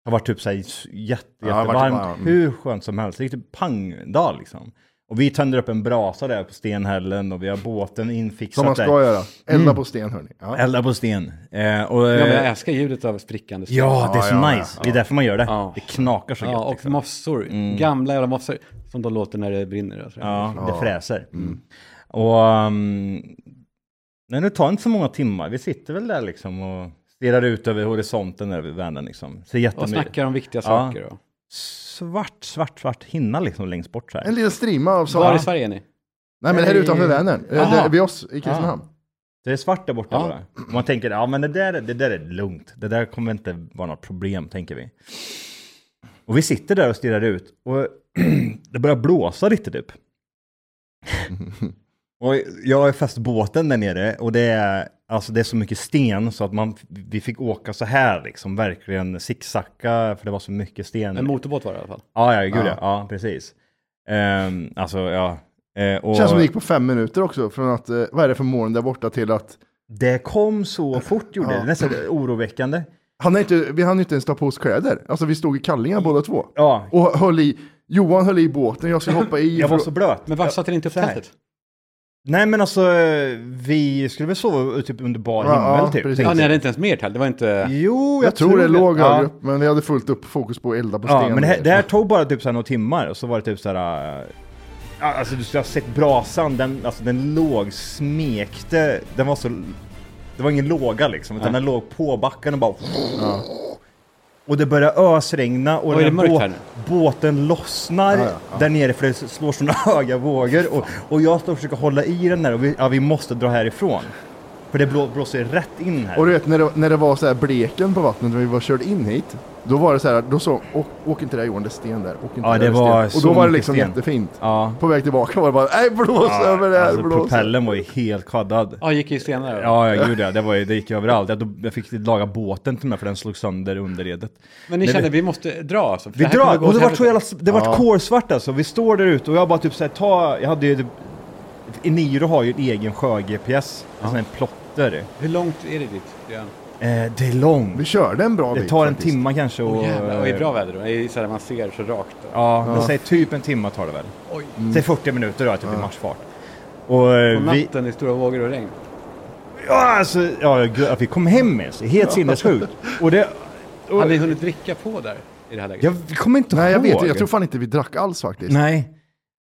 Speaker 1: Har varit typ så här jätte,
Speaker 3: det har varit-
Speaker 1: jättevarmt,
Speaker 3: ja, mm.
Speaker 1: hur skönt som helst. Riktigt pangdag liksom. Och vi tänder upp en brasa där på stenhällen och vi har båten infixat
Speaker 3: Som man
Speaker 1: där. Mm.
Speaker 3: ska göra. Elda på sten hörni. Ja.
Speaker 1: Elda på sten. Eh, och,
Speaker 2: Ja, men jag
Speaker 1: eh,
Speaker 2: älskar ljudet av sprickande sten.
Speaker 1: ja, det är så
Speaker 3: Ja, ja,
Speaker 1: nice. Det är därför man gör det.
Speaker 2: Ja.
Speaker 1: Det knakar så
Speaker 2: Ja,
Speaker 1: gött.
Speaker 2: och
Speaker 1: liksom.
Speaker 2: mossor. Gamla jävla mossor som de låter när det brinner. Och sådär.
Speaker 1: Ja, det fräser. Och... Um, nej, det tar inte så många timmar. Vi sitter väl där liksom och stirrar ut över horisonten över Vänern liksom. Ser
Speaker 2: Och
Speaker 1: jättemycket.
Speaker 2: snackar om viktiga saker. Och.
Speaker 1: Svart, svart, svart hinna liksom längst bort så här.
Speaker 3: En liten streama av
Speaker 2: Var i
Speaker 3: sånt.
Speaker 2: Sverige är ni?
Speaker 3: Nej men här utanför Vänern, Eh,
Speaker 1: Aha.
Speaker 3: där vid oss i Kristinehamn.
Speaker 1: Det är svart där borta bara. Och Man tänker, ja men det där, det där är lugnt. Det där kommer inte vara något problem, tänker vi. Och vi sitter där och stirrar ut och [CLEARS THROAT] det börjar blåsa lite typ. [LAUGHS] och jag har fäst båten där nere och det är, alltså det är så mycket sten så att man, vi fick åka så här liksom, verkligen zigzacka för det var så mycket sten.
Speaker 2: En motorbåt var det i alla fall.
Speaker 1: Ja, ja, gud ja. Ja, precis. Ehm, alltså, ja. Eh, och
Speaker 3: Känns som det gick på fem minuter också, från att, eh, vad är det för moln där borta till att,
Speaker 1: det kom så fort gjorde
Speaker 3: Ja.
Speaker 1: det, nästan oroväckande.
Speaker 3: han är inte, vi hann inte ens ta på oss kläder. Alltså vi stod i kallingar båda två.
Speaker 1: Ja,
Speaker 3: Och höll i, Johan höll i båten, jag skulle hoppa
Speaker 1: [LAUGHS]
Speaker 3: i.
Speaker 1: Jag
Speaker 3: för
Speaker 1: var
Speaker 3: att-
Speaker 1: så blöt.
Speaker 2: Men varför satte ni inte upp
Speaker 1: så här.
Speaker 2: tältet?
Speaker 1: Nej men alltså, eh, vi skulle väl sova typ under bar
Speaker 3: Ja,
Speaker 1: himmel
Speaker 3: ja,
Speaker 1: typ.
Speaker 3: precis.
Speaker 1: tänkte
Speaker 2: Ja, ni
Speaker 1: jag.
Speaker 2: hade inte ens mer tält. Det var inte...
Speaker 1: Jo, jag,
Speaker 3: Jag, tror det låg
Speaker 1: Ja.
Speaker 3: högre upp, men vi hade fullt upp fokus på att elda på sten.
Speaker 1: Ja, men det här, det här tog bara typ så här några timmar och så var det typ så här. äh, ja, Alltså du skulle ha sett brasan, den, alltså, den låg, smekte, den var så... Det var ingen låga liksom, utan den låg på backen och bara... Och det började ösregna och,
Speaker 2: Och är det
Speaker 1: den
Speaker 2: mörkt här nu?
Speaker 1: båten lossnar där nere för det slår såna [LAUGHS] höga vågor. Och, och jag står och försöker hålla i den där och vi, ja, vi måste dra härifrån. För det blå- blåser rätt in här.
Speaker 3: Och du vet när det, när det var så här bleken på vattnet när vi var körd in hit. Då var det så här, då så, åk, åk inte där Johan, det är sten där. Åk inte
Speaker 1: Ja,
Speaker 3: där,
Speaker 1: det
Speaker 3: är
Speaker 1: var
Speaker 3: sten.
Speaker 1: så
Speaker 3: Och då var det
Speaker 1: mycket
Speaker 3: liksom
Speaker 1: sten.
Speaker 3: jättefint.
Speaker 1: ja.
Speaker 3: På väg tillbaka var det bara, nej blås över det här,
Speaker 1: alltså,
Speaker 3: blås.
Speaker 1: propellen var ju helt kaddad.
Speaker 2: Ja, gick ju senare.
Speaker 1: Ja, jag gjorde det. Det, var ju, det gick ju överallt. Jag, jag fick laga båten till och med för den slog sönder underredet.
Speaker 2: Men ni
Speaker 1: Nej,
Speaker 2: kände
Speaker 1: vi-
Speaker 2: vi måste dra alltså? för
Speaker 1: Vi
Speaker 2: det här kommer
Speaker 1: drar,
Speaker 2: gå
Speaker 1: och det
Speaker 2: åt
Speaker 1: var så
Speaker 2: helvete.
Speaker 1: jävla, det var kolsvart alltså. Vi står där ute och jag bara typ såhär, ta, jag hade ju, Eniro har ju en egen sjö-GPS, en sån här plotter.
Speaker 2: Hur långt är det dit? Ja.
Speaker 1: Eh, det är långt.
Speaker 3: Vi körde en bra
Speaker 1: Det
Speaker 3: bit
Speaker 1: tar en
Speaker 3: faktiskt.
Speaker 1: timme kanske och... eh,
Speaker 2: Och, jävlar, och i bra väder då? Det är så här man ser så rakt. Då.
Speaker 1: Ja, men säg typ en timme tar det väl.
Speaker 2: Oj.
Speaker 1: Säg 40 minuter då, typ i marsfart. Och eh,
Speaker 2: På
Speaker 1: vi,
Speaker 2: natten i stora vågor och regn.
Speaker 1: ja, alltså, ja, gud, att vi kom hem ens, helt sinnessjukt. Och det, och,
Speaker 2: Hade vi hunnit dricka på där i det här läget?
Speaker 1: jag kommer inte
Speaker 3: Nej jag
Speaker 1: ihåg.
Speaker 3: vet jag tror fan inte vi drack alls faktiskt.
Speaker 1: Nej.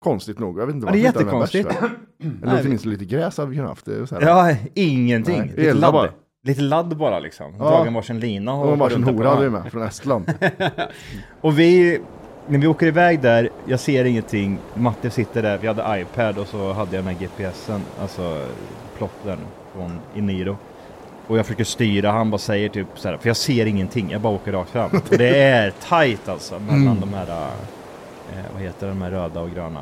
Speaker 3: Konstigt nog, jag vet inte
Speaker 1: Ja, det är
Speaker 3: varför vi
Speaker 1: jättekonstigt.
Speaker 3: inte hade bärs, va? Eller åtminstone lite gräs hade vi kunnat haft. det, Så här.
Speaker 1: Ja, ingenting.
Speaker 3: Nej,
Speaker 1: Lite
Speaker 3: elda
Speaker 1: ladd.
Speaker 3: bara.
Speaker 1: Lite ladd bara liksom.
Speaker 3: Ja.
Speaker 1: Dragen varsin lina.
Speaker 3: Och de varsin
Speaker 1: runt där på
Speaker 3: hora hade vi
Speaker 1: ön.
Speaker 3: med
Speaker 1: [LAUGHS]
Speaker 3: från Estland.
Speaker 1: Och vi, när vi åker iväg där, jag ser ingenting. Matte sitter där, vi hade iPad och så hade jag den här GPSen, alltså plotten från Eniro. Och jag försöker styra, han bara säger typ så här, för jag ser ingenting, jag bara åker rakt
Speaker 3: [LAUGHS]
Speaker 1: fram. Och det är tight alltså mellan
Speaker 3: Mm.
Speaker 1: de här, eh, vad heter de här röda och gröna?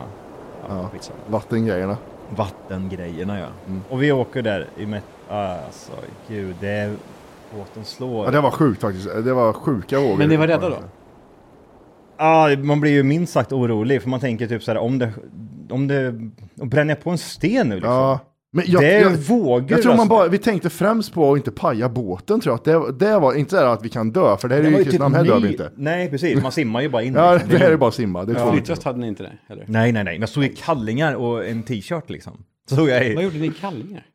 Speaker 1: Ja, skitsamma.
Speaker 3: Vattengrejerna.
Speaker 1: vattengrejerna ja. Mm. Och vi åker där i met... Alltså gud, det är... Båten slår.
Speaker 3: Ja, det var sjukt faktiskt. Det var sjuka vågor.
Speaker 2: Men ni var rädda då?
Speaker 1: Ja, Ah, man blir ju minst sagt orolig för man tänker typ så här om det... Om det... Och bränner jag på en sten nu liksom?
Speaker 3: Ja. Men jag,
Speaker 1: det är
Speaker 3: jag,
Speaker 1: vågor
Speaker 3: jag tror man
Speaker 1: alltså.
Speaker 3: bara, vi tänkte främst på att inte paja båten tror jag. Att det, det var inte så här att vi kan dö, för det här är
Speaker 1: Det var
Speaker 3: ju
Speaker 1: ju
Speaker 3: i
Speaker 1: typ
Speaker 3: Kristinehamn, här dör vi
Speaker 1: ny-
Speaker 3: inte.
Speaker 1: Nej, precis. Man simmar ju bara in.
Speaker 3: Ja,
Speaker 1: liksom.
Speaker 3: det här är bara att simma. Det är två
Speaker 2: Flytväst hade ni inte det heller?
Speaker 1: Nej, nej, nej. Men jag stod i kallingar och en t-shirt liksom. Så såg jag
Speaker 2: Vad
Speaker 1: i...
Speaker 2: gjorde ni i kallingar?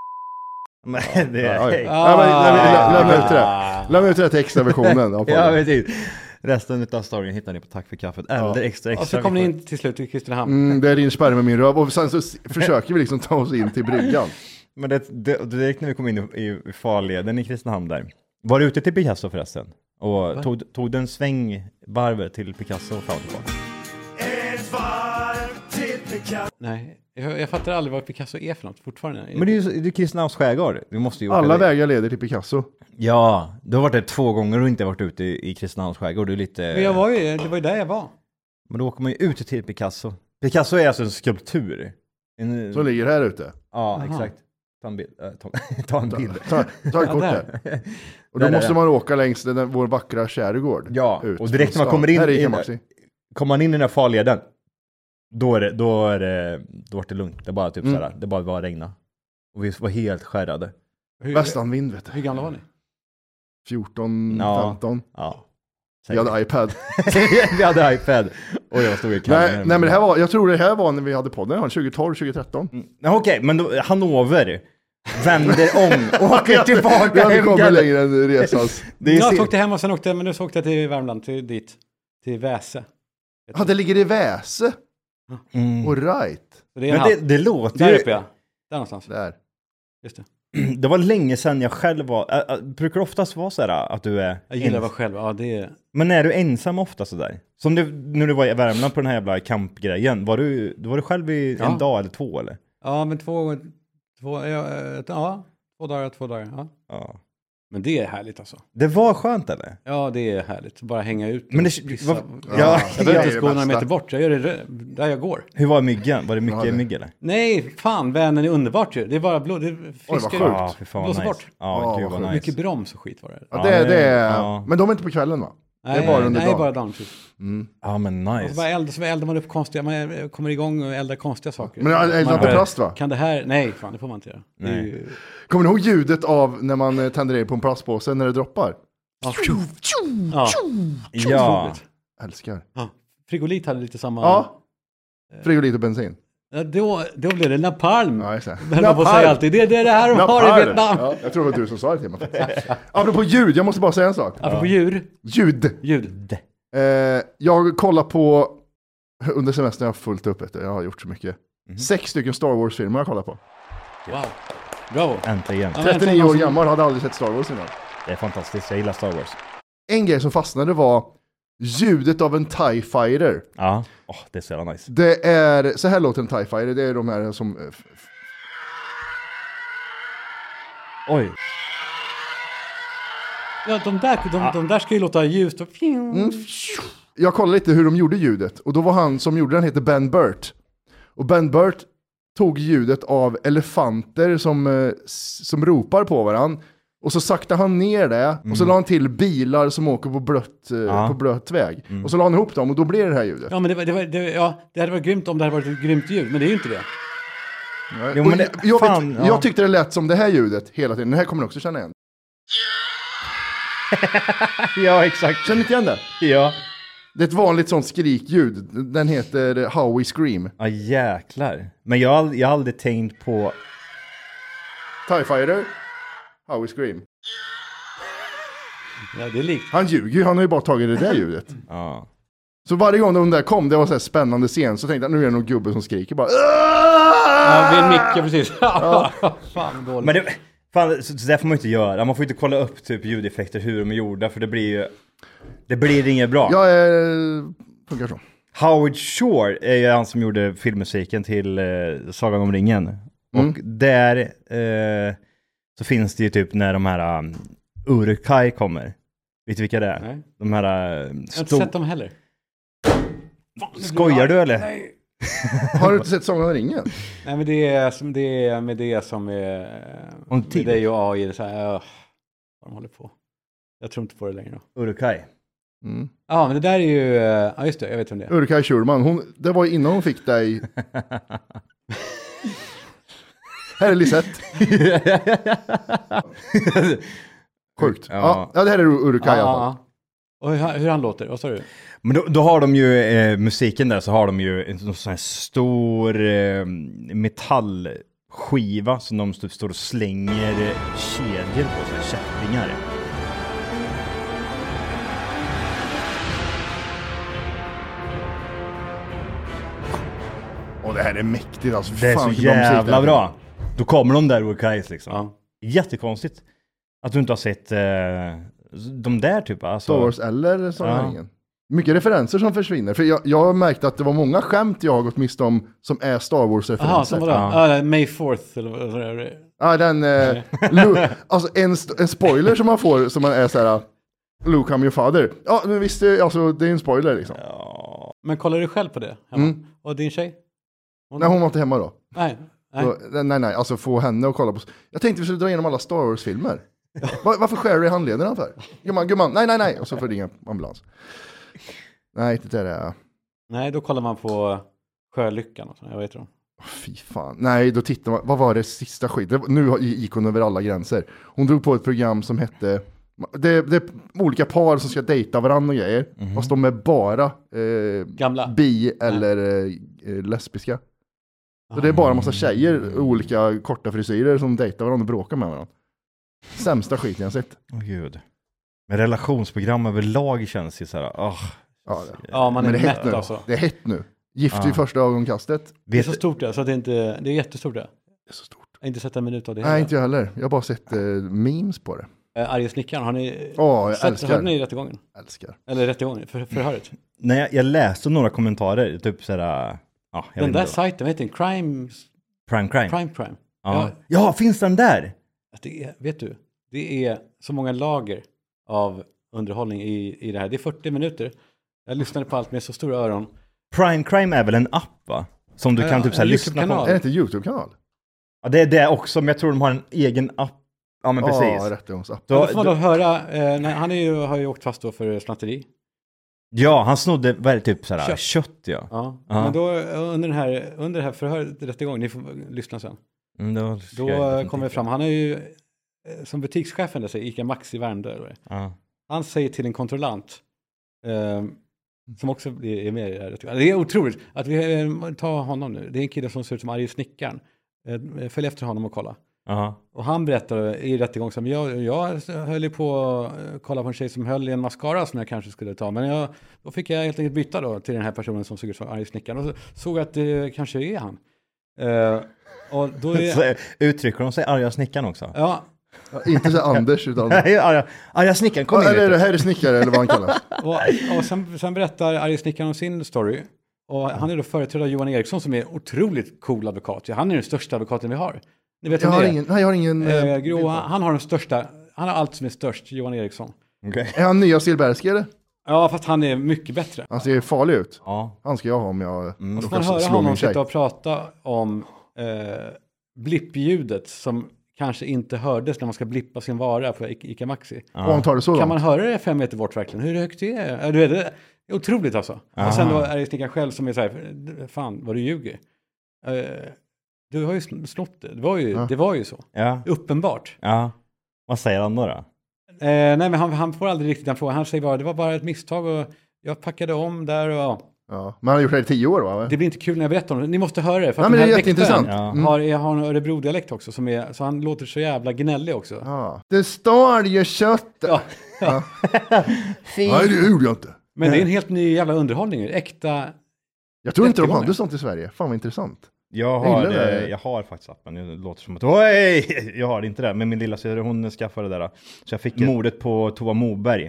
Speaker 1: [LAUGHS] Nej, det
Speaker 3: Ja,
Speaker 1: är...
Speaker 3: oj. Ja, men lämna-
Speaker 2: Ah.
Speaker 3: Lämna ut det där. Lämna ut det där till extra versionen. av
Speaker 1: Ja,
Speaker 3: podden.
Speaker 1: precis. Resten av storyn hittar ni på Tack för kaffet. Eller extra, extra.
Speaker 2: Och så Alltså, kom ni in till slut till Kristinehamn.
Speaker 3: Mm, det rinner sperma i min röv och sen så s- försöker vi liksom ta oss in
Speaker 1: [LAUGHS]
Speaker 3: till bryggan.
Speaker 1: Men det, det, direkt när vi kom in i, i farleden i Kristinehamn där. Var du ute till Picasso förresten? Och tog, tog du en sväng varvet till Picasso och fram och tillbaka?
Speaker 2: Nej, jag, jag fattar aldrig vad Picasso är för något fortfarande.
Speaker 1: Men det är ju det är ju Kristinehamns skärgård. Vi måste ju åka
Speaker 3: Alla
Speaker 1: dit.
Speaker 3: vägar leder till Picasso.
Speaker 1: Ja, du har varit där två gånger och inte varit ute i, i Kristinehamns skärgård. Du är lite...
Speaker 2: Men jag var ju, det var ju där jag var.
Speaker 1: Men då åker man ju ut till Picasso. Picasso är alltså en skulptur. En,
Speaker 3: Som ligger här ute.
Speaker 1: ja, exakt. Ta en bild. Äh, ta, [LAUGHS] ta en bild.
Speaker 3: Ta,
Speaker 1: [LAUGHS]
Speaker 3: ta ett kort
Speaker 2: där.
Speaker 3: här. Och då
Speaker 1: Där, där,
Speaker 3: måste
Speaker 1: där.
Speaker 3: man åka längs den, vår vackra skärgård.
Speaker 1: Ja,
Speaker 3: ut
Speaker 1: och direkt
Speaker 3: från
Speaker 1: när man
Speaker 3: stan.
Speaker 1: kommer in
Speaker 3: Här är
Speaker 1: i-
Speaker 3: Ica Maxi.
Speaker 1: Kommer man in i den här farleden, då är det, då är det, då är det lugnt. Det är bara typ
Speaker 3: Mm.
Speaker 1: såhär, det bara, bara regna. Och vi var helt skärrade.
Speaker 2: Hur,
Speaker 3: Västanvind vet
Speaker 2: hur
Speaker 3: du.
Speaker 2: gamla var ni?
Speaker 3: 14,
Speaker 1: Ja.
Speaker 3: 15.
Speaker 1: Ja.
Speaker 3: Vi hade iPad.
Speaker 1: [LAUGHS] vi hade iPad. Och jag stod i
Speaker 3: nej, nej men det här var, jag tror det här var när vi hade podden, ja, 2012, 2013.
Speaker 1: Nej, Okej, men då, Hannover vänder om
Speaker 3: [LAUGHS]
Speaker 1: och åker
Speaker 3: Vi
Speaker 1: tillbaka
Speaker 3: hade
Speaker 1: hem.
Speaker 3: kommit
Speaker 1: Kalle.
Speaker 3: längre
Speaker 1: [LAUGHS]
Speaker 3: än resans.
Speaker 1: Det är
Speaker 2: jag
Speaker 1: se-
Speaker 2: åkte hem och sen åkte, men nu så åkte jag till Värmland, till, dit. Till Väse.
Speaker 3: Ja, det ligger i Väse.
Speaker 1: Mm.
Speaker 3: All right.
Speaker 2: Så det är en
Speaker 1: Men det,
Speaker 2: halv.
Speaker 1: det låter
Speaker 2: Där uppe
Speaker 1: ju...
Speaker 2: ja. Där någonstans.
Speaker 3: Där.
Speaker 2: Just det.
Speaker 1: [CLEARS THROAT] Det var länge sedan jag själv var... Äh, äh, brukar det oftast vara så här att du är...
Speaker 2: Jag gillar att
Speaker 1: ens-
Speaker 2: vara själv. Ja, det är...
Speaker 1: Men är du ensam ofta sådär? Som du, när du var i Värmland på den här jävla kampgrejen, var du, var du själv i
Speaker 2: Ja.
Speaker 1: en dag eller två eller?
Speaker 2: Ja, men två, två, ja, ja, två dagar, två dagar. Ja.
Speaker 1: Ja.
Speaker 2: Men det är härligt alltså.
Speaker 1: Det var skönt eller?
Speaker 2: Ja, det är härligt. Bara hänga ut. och
Speaker 1: Men det,
Speaker 2: pissa.
Speaker 1: vad, [LAUGHS] ja.
Speaker 2: Jag
Speaker 3: Det är
Speaker 2: behöver
Speaker 3: det
Speaker 2: inte gå några
Speaker 3: bästa.
Speaker 2: meter bort, jag gör det rö- där jag går.
Speaker 1: Hur var myggen? Var det mycket
Speaker 3: Ja, det-
Speaker 1: mygg eller?
Speaker 2: Nej, fan Vänern är underbart ju. Det är bara blod, det
Speaker 3: vad
Speaker 2: fiskar
Speaker 3: sjukt.
Speaker 1: Ja, fy fan vad
Speaker 2: Blåser
Speaker 1: nice.
Speaker 2: bort.
Speaker 1: Ja,
Speaker 3: Ja,
Speaker 1: gud
Speaker 3: vad
Speaker 1: vad nice.
Speaker 3: sjukt.
Speaker 2: Mycket broms och skit var det.
Speaker 3: Ja,
Speaker 1: Ja,
Speaker 3: det,
Speaker 1: det-
Speaker 3: det är,
Speaker 1: ja.
Speaker 3: Men de är inte på kvällen va?
Speaker 2: Nej,
Speaker 3: är bara under
Speaker 2: nej,
Speaker 3: dagen.
Speaker 2: bara dagen. precis.
Speaker 1: Ja men
Speaker 2: Och så bara
Speaker 1: nice.
Speaker 2: eld, så eldar man upp konstiga, man kommer igång och eldar konstiga saker.
Speaker 3: Men jag eldar
Speaker 2: Man
Speaker 3: på
Speaker 2: bara,
Speaker 3: plast va?
Speaker 2: Kan det här, nej fan det får man inte göra. Det är
Speaker 1: Nej.
Speaker 2: ju-
Speaker 3: Kommer ni ihåg ljudet av när man eh, tänder eld på en plastpåse när det droppar?
Speaker 2: Ja. Ja.
Speaker 1: Ja.
Speaker 2: otroligt.
Speaker 3: Älskar.
Speaker 2: ja. Frigolit hade lite samma...
Speaker 3: Ja. Frigolit och bensin.
Speaker 2: Ja, då, då blev det napalm.
Speaker 3: Ja, just det.
Speaker 2: Men man
Speaker 3: Napalm.
Speaker 2: säger alltid, det, det är det här de har i
Speaker 3: Napalm.
Speaker 2: Vietnam.
Speaker 3: Ja, jag tror det var du som sa det till mig faktiskt. Apropå ljud, jag måste bara säga en sak.
Speaker 2: Apropå djur,
Speaker 3: Ljud.
Speaker 2: ljud.
Speaker 3: Eh, jag kollar på, under semestern har jag fullt upp, vet du. jag har gjort så mycket. Sex stycken Star Wars-filmer har jag kollat på.
Speaker 2: Wow. Bravo.
Speaker 1: Äntligen.
Speaker 2: Ja, men äntligen
Speaker 3: 39
Speaker 2: någon
Speaker 3: år
Speaker 2: som-
Speaker 3: gammal, hade aldrig sett Star Wars innan.
Speaker 1: Det är fantastiskt. Jag gillar Star Wars.
Speaker 3: En grej som fastnade var ljudet av en E TIE Fighter.
Speaker 1: Ja. Åh, det är så jävla nice.
Speaker 3: Det är, så här låter en E TIE Fighter, det är de här som... eh, f- f-
Speaker 1: Oj.
Speaker 2: Ja, de, där, de, de där ska ju låta ljust och... Mm.
Speaker 3: Jag kollade lite hur de gjorde ljudet, och då var han som gjorde den, hette Ben Burt. Och Ben Burt tog ljudet av elefanter som, eh, s- som ropar på varandra. Och så sakta han ner det, och
Speaker 1: Mm.
Speaker 3: så la han till bilar som åker på blött, eh, på blött väg.
Speaker 1: Mm.
Speaker 3: Och så la han ihop dem, och då blir det det här ljudet.
Speaker 2: Ja, men det, var, det, var, det, ja, det hade varit grymt om det hade varit ett grymt ljud, men det är ju inte det.
Speaker 1: Jo,
Speaker 3: Och
Speaker 1: men det-
Speaker 3: jag- jag,
Speaker 1: fan,
Speaker 3: vet,
Speaker 1: ja.
Speaker 3: jag tyckte det lät som det här ljudet hela tiden. Det här kommer ni också känna igen.
Speaker 1: Ja, exakt.
Speaker 3: Känner ni inte igen det?
Speaker 1: Ja.
Speaker 3: Det är ett vanligt sånt skrikljud. Den heter Howie Scream.
Speaker 1: Ja, jäklar. Men jag har, ald- jag har aldrig tänkt på...
Speaker 3: TIE Fighter, Howie Scream.
Speaker 2: Ja, det är likt.
Speaker 3: Han ljuger ju, han har ju bara tagit det där ljudet.
Speaker 1: Ja.
Speaker 3: Så varje gång de där kom, det var så här spännande scen, så tänkte jag nu är det någon gubbe som skriker bara.
Speaker 2: Ja, vid en mick, precis. [LAUGHS] Ja. Fan, dåligt.
Speaker 1: Men det... Fan, så så där får man ju inte göra. Man får ju inte kolla upp typ ljudeffekter, hur de är gjorda, för det blir ju... Det blir inget bra.
Speaker 3: Jag är... Funkar så.
Speaker 1: Howard Shore är ju han som gjorde filmmusiken till eh, Sagan om ringen. Och där eh, så finns det ju typ när de här um, Urukai kommer. Vet du vilka det är?
Speaker 2: Nej.
Speaker 1: De här... Um,
Speaker 2: Jag har inte sett dem heller.
Speaker 1: Skojar du eller?
Speaker 3: Har du inte sett Sagan om [LAUGHS] ringen?
Speaker 2: Nej, men det är, som, det är med det som är... eh,
Speaker 1: Om
Speaker 2: med
Speaker 1: tid.
Speaker 2: dig och AI, det är så här, öh, vad de håller på. Jag tror inte på det längre. då.
Speaker 1: Urukai. [LAUGHS]
Speaker 2: Ja, men det där är ju... eh, Ja, just det, jag vet om det är.
Speaker 3: Urkaj Schulman, hon, det var ju innan hon fick dig... här är Lisette. Sjukt. Ja.
Speaker 1: Ja.
Speaker 3: ja, det här är Urkaj i alla fall.
Speaker 2: Och hur, han- hur han låter, vad sa du?
Speaker 1: Men då, då har de ju eh, musiken där så har de ju en sån här stor eh, metallskiva som de typ står och slänger eh, kedjor på, så här kättingar.
Speaker 3: Och det här är mäktigt alltså.
Speaker 1: Det är
Speaker 3: Fan,
Speaker 1: så
Speaker 3: vilken bra musik det
Speaker 1: jävla
Speaker 3: här.
Speaker 1: bra. Då kommer de där Urkais liksom.
Speaker 2: Ja.
Speaker 1: Jättekonstigt att du inte har sett eh, de där typ. Alltså.
Speaker 3: Star Wars eller Sagan om
Speaker 1: Ja.
Speaker 3: ringen. Mycket referenser som försvinner. För jag, jag har märkt att det var många skämt jag har gått miste om som är Star
Speaker 2: Jaha,
Speaker 3: Wars-referenser.
Speaker 2: som vadå?
Speaker 1: Ja.
Speaker 2: Ah, May 4th eller vad vad är det?
Speaker 3: Ja, den... Eh, Lu- alltså en, st- en spoiler som man får som man är så här... "Ah, Luke, I'm your father. Ja, men visst, det- alltså, det är en spoiler liksom.
Speaker 2: Men kollar du själv på det? hemma?
Speaker 3: Mm.
Speaker 2: Och din tjej?
Speaker 3: Nej, hon var inte hemma då.
Speaker 2: Nej. Nej.
Speaker 3: Så, nej. nej, nej, alltså få henne att kolla på... Jag tänkte vi skulle dra igenom alla Star Wars-filmer. Var, varför skär du i handlederna för? Gumman, gumman, nej, nej, nej. Och så får det ingen ambulans. Nej, det där är...
Speaker 2: Nej, då kollar man på Sjölyckan och sånt, jag vet inte.
Speaker 3: Fy fan. Nej, då tittar man. Vad var det sista skit? Det var- Nu har- gick hon över alla gränser. Hon drog på ett program som hette... Det, det är olika par som ska dejta varandra och grejer. Fast de är bara eh,
Speaker 2: Gamla.
Speaker 3: bi eller eh, lesbiska. Så det är bara en massa tjejer, olika korta frisyrer som dejtar varandra och bråkar med varandra. Sämsta skiten jag sett.
Speaker 1: Åh gud. Men relationsprogram överlag känns ju så här, åh.
Speaker 3: Ja, det.
Speaker 2: Ja, man är
Speaker 3: Men det är hett
Speaker 2: mätt
Speaker 3: nu.
Speaker 2: alltså.
Speaker 3: Det är hett nu. Gift vid första ögonkastet.
Speaker 2: Det är
Speaker 1: Vet,
Speaker 2: så stort det, så att det är inte, det är jättestort det.
Speaker 3: Det är så stort.
Speaker 2: Jag har inte sett en minut av det
Speaker 3: Nej, inte jag heller. Jag har bara sett eh, memes på det.
Speaker 2: Eh, Arge snickaren, har ni
Speaker 3: Åh, jag
Speaker 2: sett,
Speaker 3: älskar.
Speaker 2: hörde ni rättegången?
Speaker 3: Älskar.
Speaker 2: Eller rättegången, för, förhöret?
Speaker 1: nej, jag, jag läste några kommentarer, typ så här, ja, jag
Speaker 2: Den
Speaker 1: vet
Speaker 2: där
Speaker 1: inte.
Speaker 2: sajten, vad heter den? Crime,
Speaker 1: Prime crime.
Speaker 2: crime, crime.
Speaker 1: Ja. ja, finns den där?
Speaker 2: Att det är, vet du, det är så många lager av underhållning i, i det här. Det är 40 minuter. Jag lyssnade på allt med så stora öron.
Speaker 1: Prime crime är väl en app va? Som du
Speaker 2: Ja,
Speaker 1: kan typ så här
Speaker 2: en
Speaker 1: lyssna
Speaker 2: YouTube-kanal.
Speaker 1: på.
Speaker 3: Är det inte YouTube-kanal?
Speaker 1: Ja, det är det också, men jag tror de har en egen app. Ja, men precis.
Speaker 3: Ja, rättegångsapp.
Speaker 1: Då-
Speaker 2: Ja, då får man då
Speaker 1: då,
Speaker 2: höra, eh, nej, han är ju, har ju åkt fast då för snatteri.
Speaker 1: ja, han snodde, vad är det, typ så här,
Speaker 2: Kött.
Speaker 1: kött, ja.
Speaker 2: Ja.
Speaker 1: Ja.
Speaker 2: Men då eh, under, den här, under det här förhöret, rättegången, ni får lyssna sen.
Speaker 1: Mm, då ska
Speaker 2: Då
Speaker 1: jag
Speaker 2: eh,
Speaker 1: definitivt-
Speaker 2: kommer det fram, han är ju eh, som butikschefen där, säger Ica Maxi Värmdö. eller vad det är.
Speaker 1: Ja.
Speaker 2: Han säger till en kontrollant, eh, Som också är är med i det här. Det är otroligt. Att vi, eh, ta honom nu. Det är en kille som ser ut som arge snickaren. Eh, Följ efter honom och kolla.
Speaker 1: Jaha.
Speaker 2: Och han berättade i rättegång som jag, jag höll ju på att kolla på en tjej som höll i en mascara som jag kanske skulle ta. Men jag, då fick jag helt enkelt byta då till den här personen som såg ut som arg snickaren. Och så, såg jag att det kanske är han. Eh, och
Speaker 1: [LAUGHS]
Speaker 2: då
Speaker 1: Så,
Speaker 2: är...
Speaker 1: eh, uttrycker de sig arga snickaren också? [LAUGHS]
Speaker 2: Ja,
Speaker 3: Ja, inte så här Anders, utan...
Speaker 1: Nej, arga, arga snickaren, kom in.
Speaker 3: Ja,
Speaker 1: vet
Speaker 3: eller
Speaker 1: du.
Speaker 3: det här är snickare eller vad
Speaker 1: [LAUGHS]
Speaker 3: han kallas.
Speaker 2: Och, och sen, sen berättar arge snickaren om sin story. Och han är då företrädare av Johan Eriksson som är otroligt cool advokat. Ja, Han är den största advokaten vi har. Ni vet
Speaker 3: Jag
Speaker 2: vem
Speaker 3: har
Speaker 2: det är?
Speaker 3: ingen, nej, jag har ingen...
Speaker 2: Eh,
Speaker 3: eh,
Speaker 2: grå, han har den största, han har allt som är störst, Johan Eriksson.
Speaker 1: Okej.
Speaker 3: Är han nya Silbersky eller?
Speaker 2: Ja, fast han är mycket bättre.
Speaker 3: Han ser farlig ut.
Speaker 1: Ja.
Speaker 3: Han ska jag ha om jag mm.
Speaker 2: Man höra honom typ sitta och prata om eh, blippljudet som kanske inte hördes när man ska blippa sin vara på I- Ica Maxi.
Speaker 3: Och han tar det så
Speaker 2: Kan man
Speaker 3: långt.
Speaker 2: höra det fem meter bort verkligen? Hur högt det är Ja, du vet, det? är Otroligt alltså. Och sen då är det snickaren själv som är så här, fan vad du ljuger. Eh, du har ju sn- snott det, det var ju, det var ju så.
Speaker 1: ja.
Speaker 2: Uppenbart.
Speaker 1: Ja. Vad säger han då? då?
Speaker 2: Eh, nej, men han, han får aldrig riktigt den frågan. Han säger bara, det var bara ett misstag och jag packade om där och ja.
Speaker 3: Ja. Men han har gjort det här i tio år va?
Speaker 2: Det blir inte kul när jag berättar om det. Ni måste höra det. För
Speaker 3: Nej,
Speaker 2: att
Speaker 3: men
Speaker 2: den
Speaker 3: det är
Speaker 2: här
Speaker 3: jätteintressant.
Speaker 2: väktaren
Speaker 3: Ja. Mm.
Speaker 2: Har, är- har en Örebro-dialekt också, som är, så han låter så jävla gnällig också.
Speaker 3: Ja. Det står ju kött.
Speaker 2: Ja. [LAUGHS]
Speaker 3: Nej, det gjorde jag inte.
Speaker 2: Men det är en helt ny jävla underhållning. Äkta...
Speaker 3: Jag tror inte de
Speaker 2: Jättegångar.
Speaker 3: hade sånt i Sverige. Fan vad intressant.
Speaker 1: Jag
Speaker 3: Jag
Speaker 1: har,
Speaker 3: gillar det
Speaker 1: det,
Speaker 3: här.
Speaker 1: jag har faktiskt appen, det låter som att Oj! Jag har inte det, men min lilla syster hon skaffade det där. Så jag fick mordet på Tova Moberg.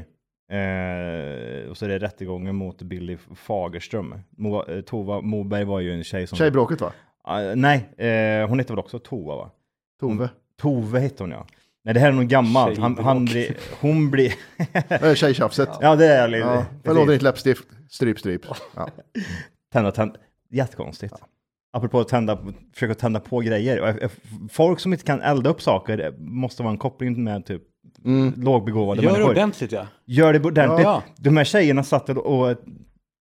Speaker 1: Eh, och så är det rättegången mot Billy Fagerström. Mo, eh, Tova Moberg var ju en tjej som...
Speaker 3: Tjejbråket va?
Speaker 1: Ah, nej, eh, hon hette väl också Tova va?
Speaker 3: Tove.
Speaker 1: Tove hette hon ja. Nej det här är nog gammalt. Han, han
Speaker 2: Tjejbråk.
Speaker 1: blir, hon blir...
Speaker 3: Mm. Tjejtjafset.
Speaker 1: [LAUGHS] ja det är lite...
Speaker 3: Ja. Förlåt ditt läppstift. Stryp, stryp. Ja.
Speaker 1: Tända, tända. Jättekonstigt. Apropå att tända, försöka tända på grejer. Och jag- jag- Folk som inte kan elda upp saker eh, måste vara en koppling med typ lågbegåvade
Speaker 2: Mm. Gör det
Speaker 1: människor.
Speaker 2: ordentligt, ja.
Speaker 1: Gör det ordentligt.
Speaker 2: Ja. eh,
Speaker 1: De här tjejerna satt och, och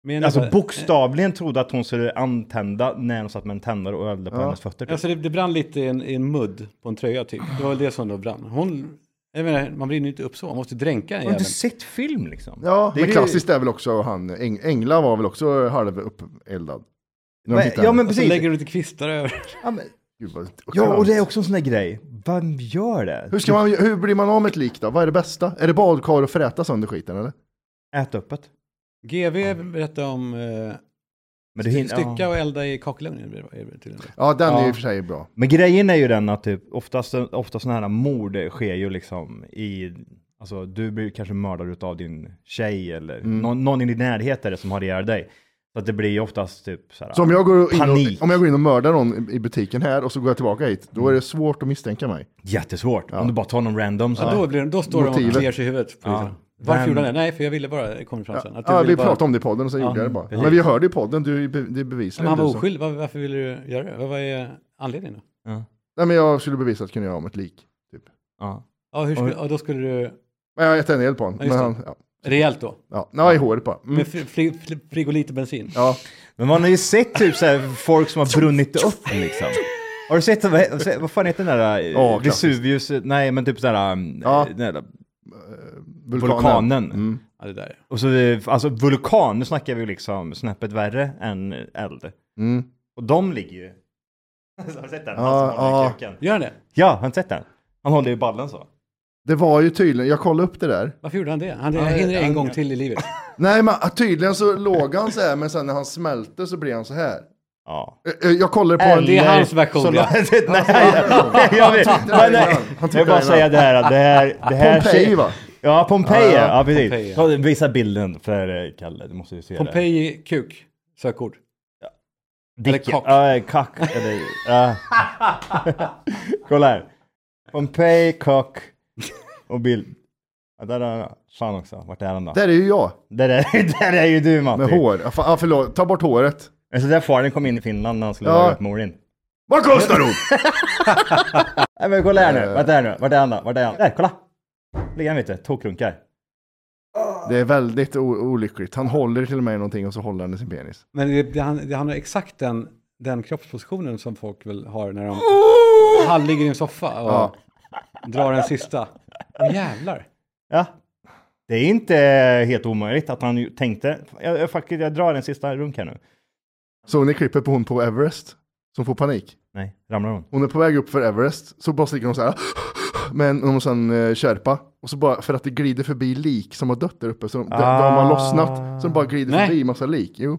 Speaker 2: Med en
Speaker 1: alltså,
Speaker 2: jävla-
Speaker 1: bokstavligen trodde att hon skulle antända när hon satt med en tändare och eldade på hennes fötter. Typ.
Speaker 2: Alltså det, det brann lite i en, i en mudd på en tröja typ. Det var det som då brann. Hon... Jag menar, man brinner ju inte upp så. Man måste dränka den
Speaker 1: Har du
Speaker 2: jäveln.
Speaker 1: inte sett film liksom?
Speaker 3: Ja,
Speaker 1: Det är
Speaker 3: men
Speaker 1: ju-
Speaker 3: klassiskt är väl också han, Eng, Engla var väl också halvupeldad. När de
Speaker 1: Men-
Speaker 3: hittade
Speaker 1: ja,
Speaker 3: henne.
Speaker 1: men
Speaker 2: Och så
Speaker 1: precis.
Speaker 2: lägger du lite kvistar över.
Speaker 1: Ja, men,
Speaker 3: Gud, vad
Speaker 1: ja, och
Speaker 3: skönt.
Speaker 1: det är också en sån där grej. Vem gör det?
Speaker 3: Hur, ska man, hur blir man av med ett lik då? Vad är det bästa? Är det badkar och fräta sönder skiten eller?
Speaker 1: Ät öppet.
Speaker 2: GV berättade om eh,
Speaker 1: Men, du hinner, ja.
Speaker 2: stycka och elda i kakelugnen. är det- är det tydligen.
Speaker 3: Ja, den är
Speaker 1: Ja.
Speaker 3: ju i och för sig bra.
Speaker 1: Men grejen är ju den att typ, oftast, oftast sådana här mord sker ju liksom i, alltså du blir kanske mördad utav din tjej eller någon, någon i din närhet är det som har ihjäl dig. Så att det blir ju oftast typ så här,
Speaker 3: Så om jag, går in
Speaker 1: Panik.
Speaker 3: och, om jag går in och mördar någon i- i butiken här och så går jag tillbaka hit, då
Speaker 2: Mm.
Speaker 3: är det svårt att misstänka mig.
Speaker 1: jättesvårt. Om du bara tar någon random så
Speaker 2: Ja, då, blir, då står de och
Speaker 3: Motivet.
Speaker 2: kliar sig i huvudet.
Speaker 1: Ja.
Speaker 2: Varför
Speaker 1: Vem-
Speaker 2: gjorde han det? Nej, för jag ville bara, det kommer fram sen. Att jag
Speaker 3: Ja,
Speaker 2: ville
Speaker 3: vi
Speaker 2: bara-
Speaker 3: pratade om det i podden och sen gjorde jag det bara. Men vi hörde i podden, du, är be- det är bevisligen
Speaker 2: Men han var
Speaker 3: du som-
Speaker 2: oskyldig, Var- varför ville du göra det? Vad vad är anledningen då?
Speaker 3: Nej, men jag skulle bevisa att jag kunde göra om ett lik. Typ.
Speaker 1: ja.
Speaker 2: Ja, hur skulle, ja, då skulle du,
Speaker 3: Men jag tände eld på honom.
Speaker 2: just
Speaker 3: men
Speaker 2: det.
Speaker 3: han, ja,
Speaker 2: rejält då,
Speaker 3: ja, nej, i håret bara. Mm.
Speaker 2: med fri, fri, fri, frigolit och bensin.
Speaker 3: Ja,
Speaker 1: Men man har ju sett typ så här, folk som har brunnit upp liksom. Har du sett, vad, vad fan heter den där, eh,
Speaker 3: Ja, klassiskt.
Speaker 1: Vesuvius, nej men typ sådär,
Speaker 3: Ja.
Speaker 1: ja. den där
Speaker 3: vulkanen. Mm.
Speaker 1: vulkanen.
Speaker 2: Ja, det där.
Speaker 1: Och så, eh, alltså vulkan, nu snackar vi ju liksom snäppet värre än eld.
Speaker 3: Mm.
Speaker 1: Och de ligger ju... [LAUGHS] har du sett den?
Speaker 3: Ja,
Speaker 1: Han som håller i
Speaker 3: ja.
Speaker 1: kuken.
Speaker 2: Gör han det?
Speaker 1: Ja, har du sett den? Han håller ju ballen så.
Speaker 3: Det var ju tydligen, jag kollade upp det där.
Speaker 2: Varför gjorde han det? Han jag hinner en gång till i livet.
Speaker 3: Nej, men ah, tydligen så låg han så här, men sen när han smälte så blev han så här.
Speaker 1: Ja.
Speaker 3: Ö, ö, Jag kollade på en...
Speaker 2: Det är hans version, ja.
Speaker 1: [LAUGHS] nej, nej, jag vet.
Speaker 3: tittar
Speaker 1: Men nej.
Speaker 3: innan. Han
Speaker 1: Jag
Speaker 3: tittar
Speaker 1: vill bara
Speaker 3: innan.
Speaker 1: säga det här. att Det här, det
Speaker 2: [LAUGHS]
Speaker 1: här
Speaker 3: Pompeji va?
Speaker 1: Ja, Pompeji.
Speaker 3: Ja,
Speaker 1: Ja,
Speaker 3: ja.
Speaker 1: precis.
Speaker 2: Pompeji.
Speaker 1: Ta- Visa bilden för eh, Kalle. Du måste ju se det.
Speaker 2: Pompeji kuk, sökord.
Speaker 1: Dicken.
Speaker 2: eller kock.
Speaker 1: Ja, eh, kock. Eller,
Speaker 2: [LAUGHS]
Speaker 1: ja. Kolla här. Pompeji, kock och bild. Ja, där är han. Fan också. Vart är han då?
Speaker 3: Där är ju jag,
Speaker 1: Där är, [LAUGHS] där är ju du Matti.
Speaker 3: med hår. Ja, fa- Ja, förlåt, ta bort håret.
Speaker 1: Men Så där faren kom in i Finland när han skulle
Speaker 3: Ja.
Speaker 1: laga upp morin.
Speaker 3: Vad kostar hon?
Speaker 1: Nej men kolla här
Speaker 3: Eh.
Speaker 1: nu, vart är han nu? Vart är han då? Vart är han? Där, kolla! Ligger han vet du, tokrunkar.
Speaker 3: Det är väldigt o- olyckligt. Han håller till och med i någonting och så håller han i sin penis.
Speaker 2: Men det, det, han, det, han har exakt den, den kroppspositionen som folk väl har när de halvligger i en soffa och
Speaker 3: Ja.
Speaker 2: drar en sista. Åh jävlar!
Speaker 1: Ja. Det är inte eh, helt omöjligt att han ju tänkte, jag, jag, fuck it, jag drar en sista runk här nu.
Speaker 3: Såg ni klippet på hon på Everest? Som får panik.
Speaker 1: Nej, ramlar hon?
Speaker 3: Hon är på väg upp för Everest, så bara sticker hon så här. [GASPS] Men hon måste en eh, kärpa. Och så bara, för att det glider förbi lik som har dött där uppe. Så de, de har lossnat, så de bara glider
Speaker 2: Nej.
Speaker 3: förbi massa lik. Jo.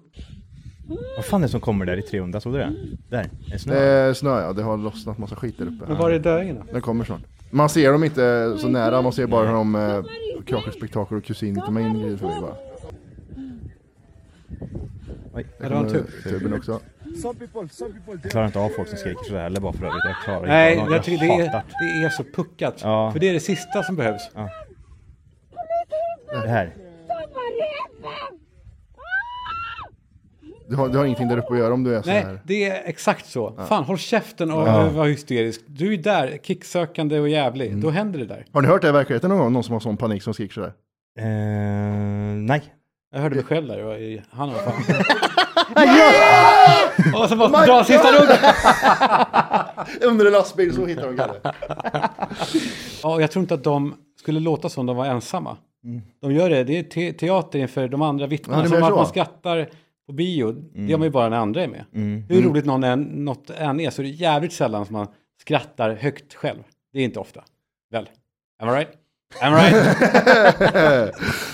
Speaker 1: Vad fan är det som kommer där i 300? Såg du det? Där, en snö.
Speaker 3: Eh, snö ja, det har lossnat massa skit där uppe.
Speaker 2: Men var är döingen då?
Speaker 3: Den kommer snart. Man ser dem inte så nära, man ser bara hur de eh, krakar spektakel och kusin till mig glider förbi bara.
Speaker 1: Oj,
Speaker 2: Ja, det var en tur.
Speaker 3: Tuben också.
Speaker 1: jag klarar inte av folk som skriker sådär heller bara för övrigt. Jag klarar inte
Speaker 2: Nej,
Speaker 1: av dem.
Speaker 2: jag tycker det är,
Speaker 1: hatar
Speaker 2: det är så puckat.
Speaker 1: Ja.
Speaker 2: För det är det sista som behövs.
Speaker 1: det här.
Speaker 3: Du har, du har ingenting där uppe att göra om du är så
Speaker 2: Nej,
Speaker 3: här.
Speaker 2: det är exakt så. Fan, håll käften och var hysterisk. Du är där, kicksökande och jävlig. Då händer det där.
Speaker 3: Har ni hört det i verkligheten någon gång? Någon som har sån panik som skriker sådär?
Speaker 1: Eh, nej.
Speaker 2: Jag hörde mig själv där. Det var i- Han var fan... Och så bara dra sista rundan.
Speaker 3: Under en lastbil, så hittar de Kalle.
Speaker 2: Ja, och jag tror inte att de skulle låta som de var ensamma. De gör det, det är te teater inför de andra
Speaker 3: Ja,
Speaker 2: vittnena.
Speaker 3: det
Speaker 2: som
Speaker 3: menar
Speaker 2: att
Speaker 3: så.
Speaker 2: man skrattar på bio, det gör man ju bara när andra är med.
Speaker 1: Mm.
Speaker 2: Hur roligt någon än, något än är så är det jävligt sällan som man skrattar högt själv. Det är inte ofta. Väl? Am I right? Am I
Speaker 1: [LAUGHS]
Speaker 2: right?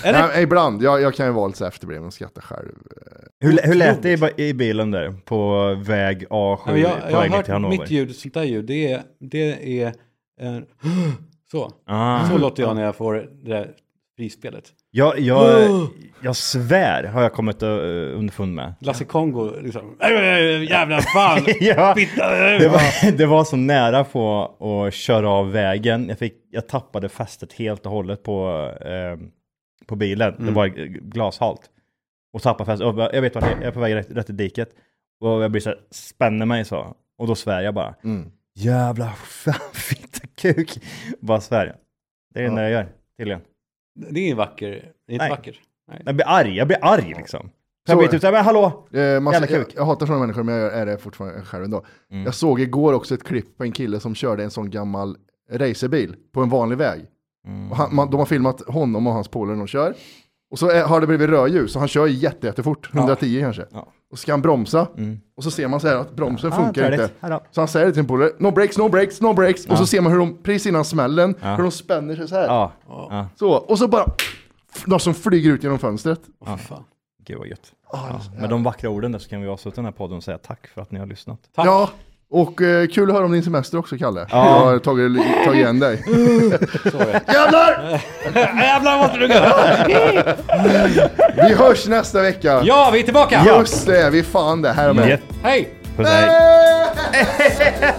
Speaker 2: Eller?
Speaker 3: Nej, ibland, jag, jag kan ju vara lite så här efterbliven och skratta själv.
Speaker 1: Hur, hur lät det i, ba- i bilen där? På väg A7
Speaker 2: Nej, men jag,
Speaker 1: på
Speaker 2: jag
Speaker 1: väg ner
Speaker 2: har
Speaker 1: till
Speaker 2: hört
Speaker 1: Hannover?
Speaker 2: mitt ljud, sånt där ljud, det är, det är en, [GASPS] så.
Speaker 1: Ah.
Speaker 2: Så låter jag när jag får det där frispelet.
Speaker 1: Jag,
Speaker 2: Oh!
Speaker 1: jag, jag svär har jag kommit eh, underfund med. [LAUGHS]
Speaker 2: Lasse Kongo liksom, "Äh, äh, jävla fan,
Speaker 1: Ja.
Speaker 2: fitta, äh."
Speaker 1: Det var, [LAUGHS] det var så nära på att köra av vägen. Jag, fick, jag tappade fästet helt och hållet på, eh, på bilen. Det var glashalt. Och tappade fästet. Och jag vet vart jag är. Jag är på väg rätt, rätt i diket. Och jag blir så här, spänner mig så. Och då svär jag bara. Jävla [LAUGHS] fan, fitta kuk. Bara svär jag. Det är det enda jag gör, tydligen.
Speaker 2: Det är ingen vacker, det är inte
Speaker 1: Nej.
Speaker 2: vacker. Nej.
Speaker 1: Jag blir arg, jag blir arg liksom. Så jag
Speaker 3: Så
Speaker 1: blir
Speaker 3: är
Speaker 1: typ såhär, men hallå!
Speaker 3: Eh, man,
Speaker 1: Jävla
Speaker 3: jag,
Speaker 1: kuk.
Speaker 3: jag hatar sådana människor men jag gör- är det fortfarande själv ändå. Jag såg igår också ett klipp på en kille som körde en sån gammal racerbil på en vanlig väg. Och han, man, de har filmat honom och hans polare när de kör. Och så är, har det blivit rödljus och han kör jätte, jättefort, 110 kanske. Och så ska han bromsa och så ser man så här att bromsen funkar
Speaker 1: Ah, trevligt.
Speaker 3: inte.
Speaker 1: Hallå.
Speaker 3: Så han säger till sin polare, no breaks, no breaks, no breaks. Och så ser man hur de, precis innan smällen, hur de spänner sig så här.
Speaker 1: Ja,
Speaker 3: Så, och så bara, någon som flyger ut genom fönstret.
Speaker 2: Åh, för fan.
Speaker 1: gud vad gött. Ja, med de vackra orden där så kan vi avsluta den här podden och säga tack för att ni har lyssnat.
Speaker 3: Ja, och eh, kul att höra om din semester också Kalle. Jag har tagit, tagit igen dig. Jävlar!
Speaker 2: Jävlar måste du gå!
Speaker 3: Vi hörs nästa vecka.
Speaker 2: Ja, vi är tillbaka!
Speaker 1: Mm.
Speaker 3: Just det, vi är fan det. Här med.
Speaker 1: Jätte-
Speaker 2: Hej!
Speaker 1: Puss hej!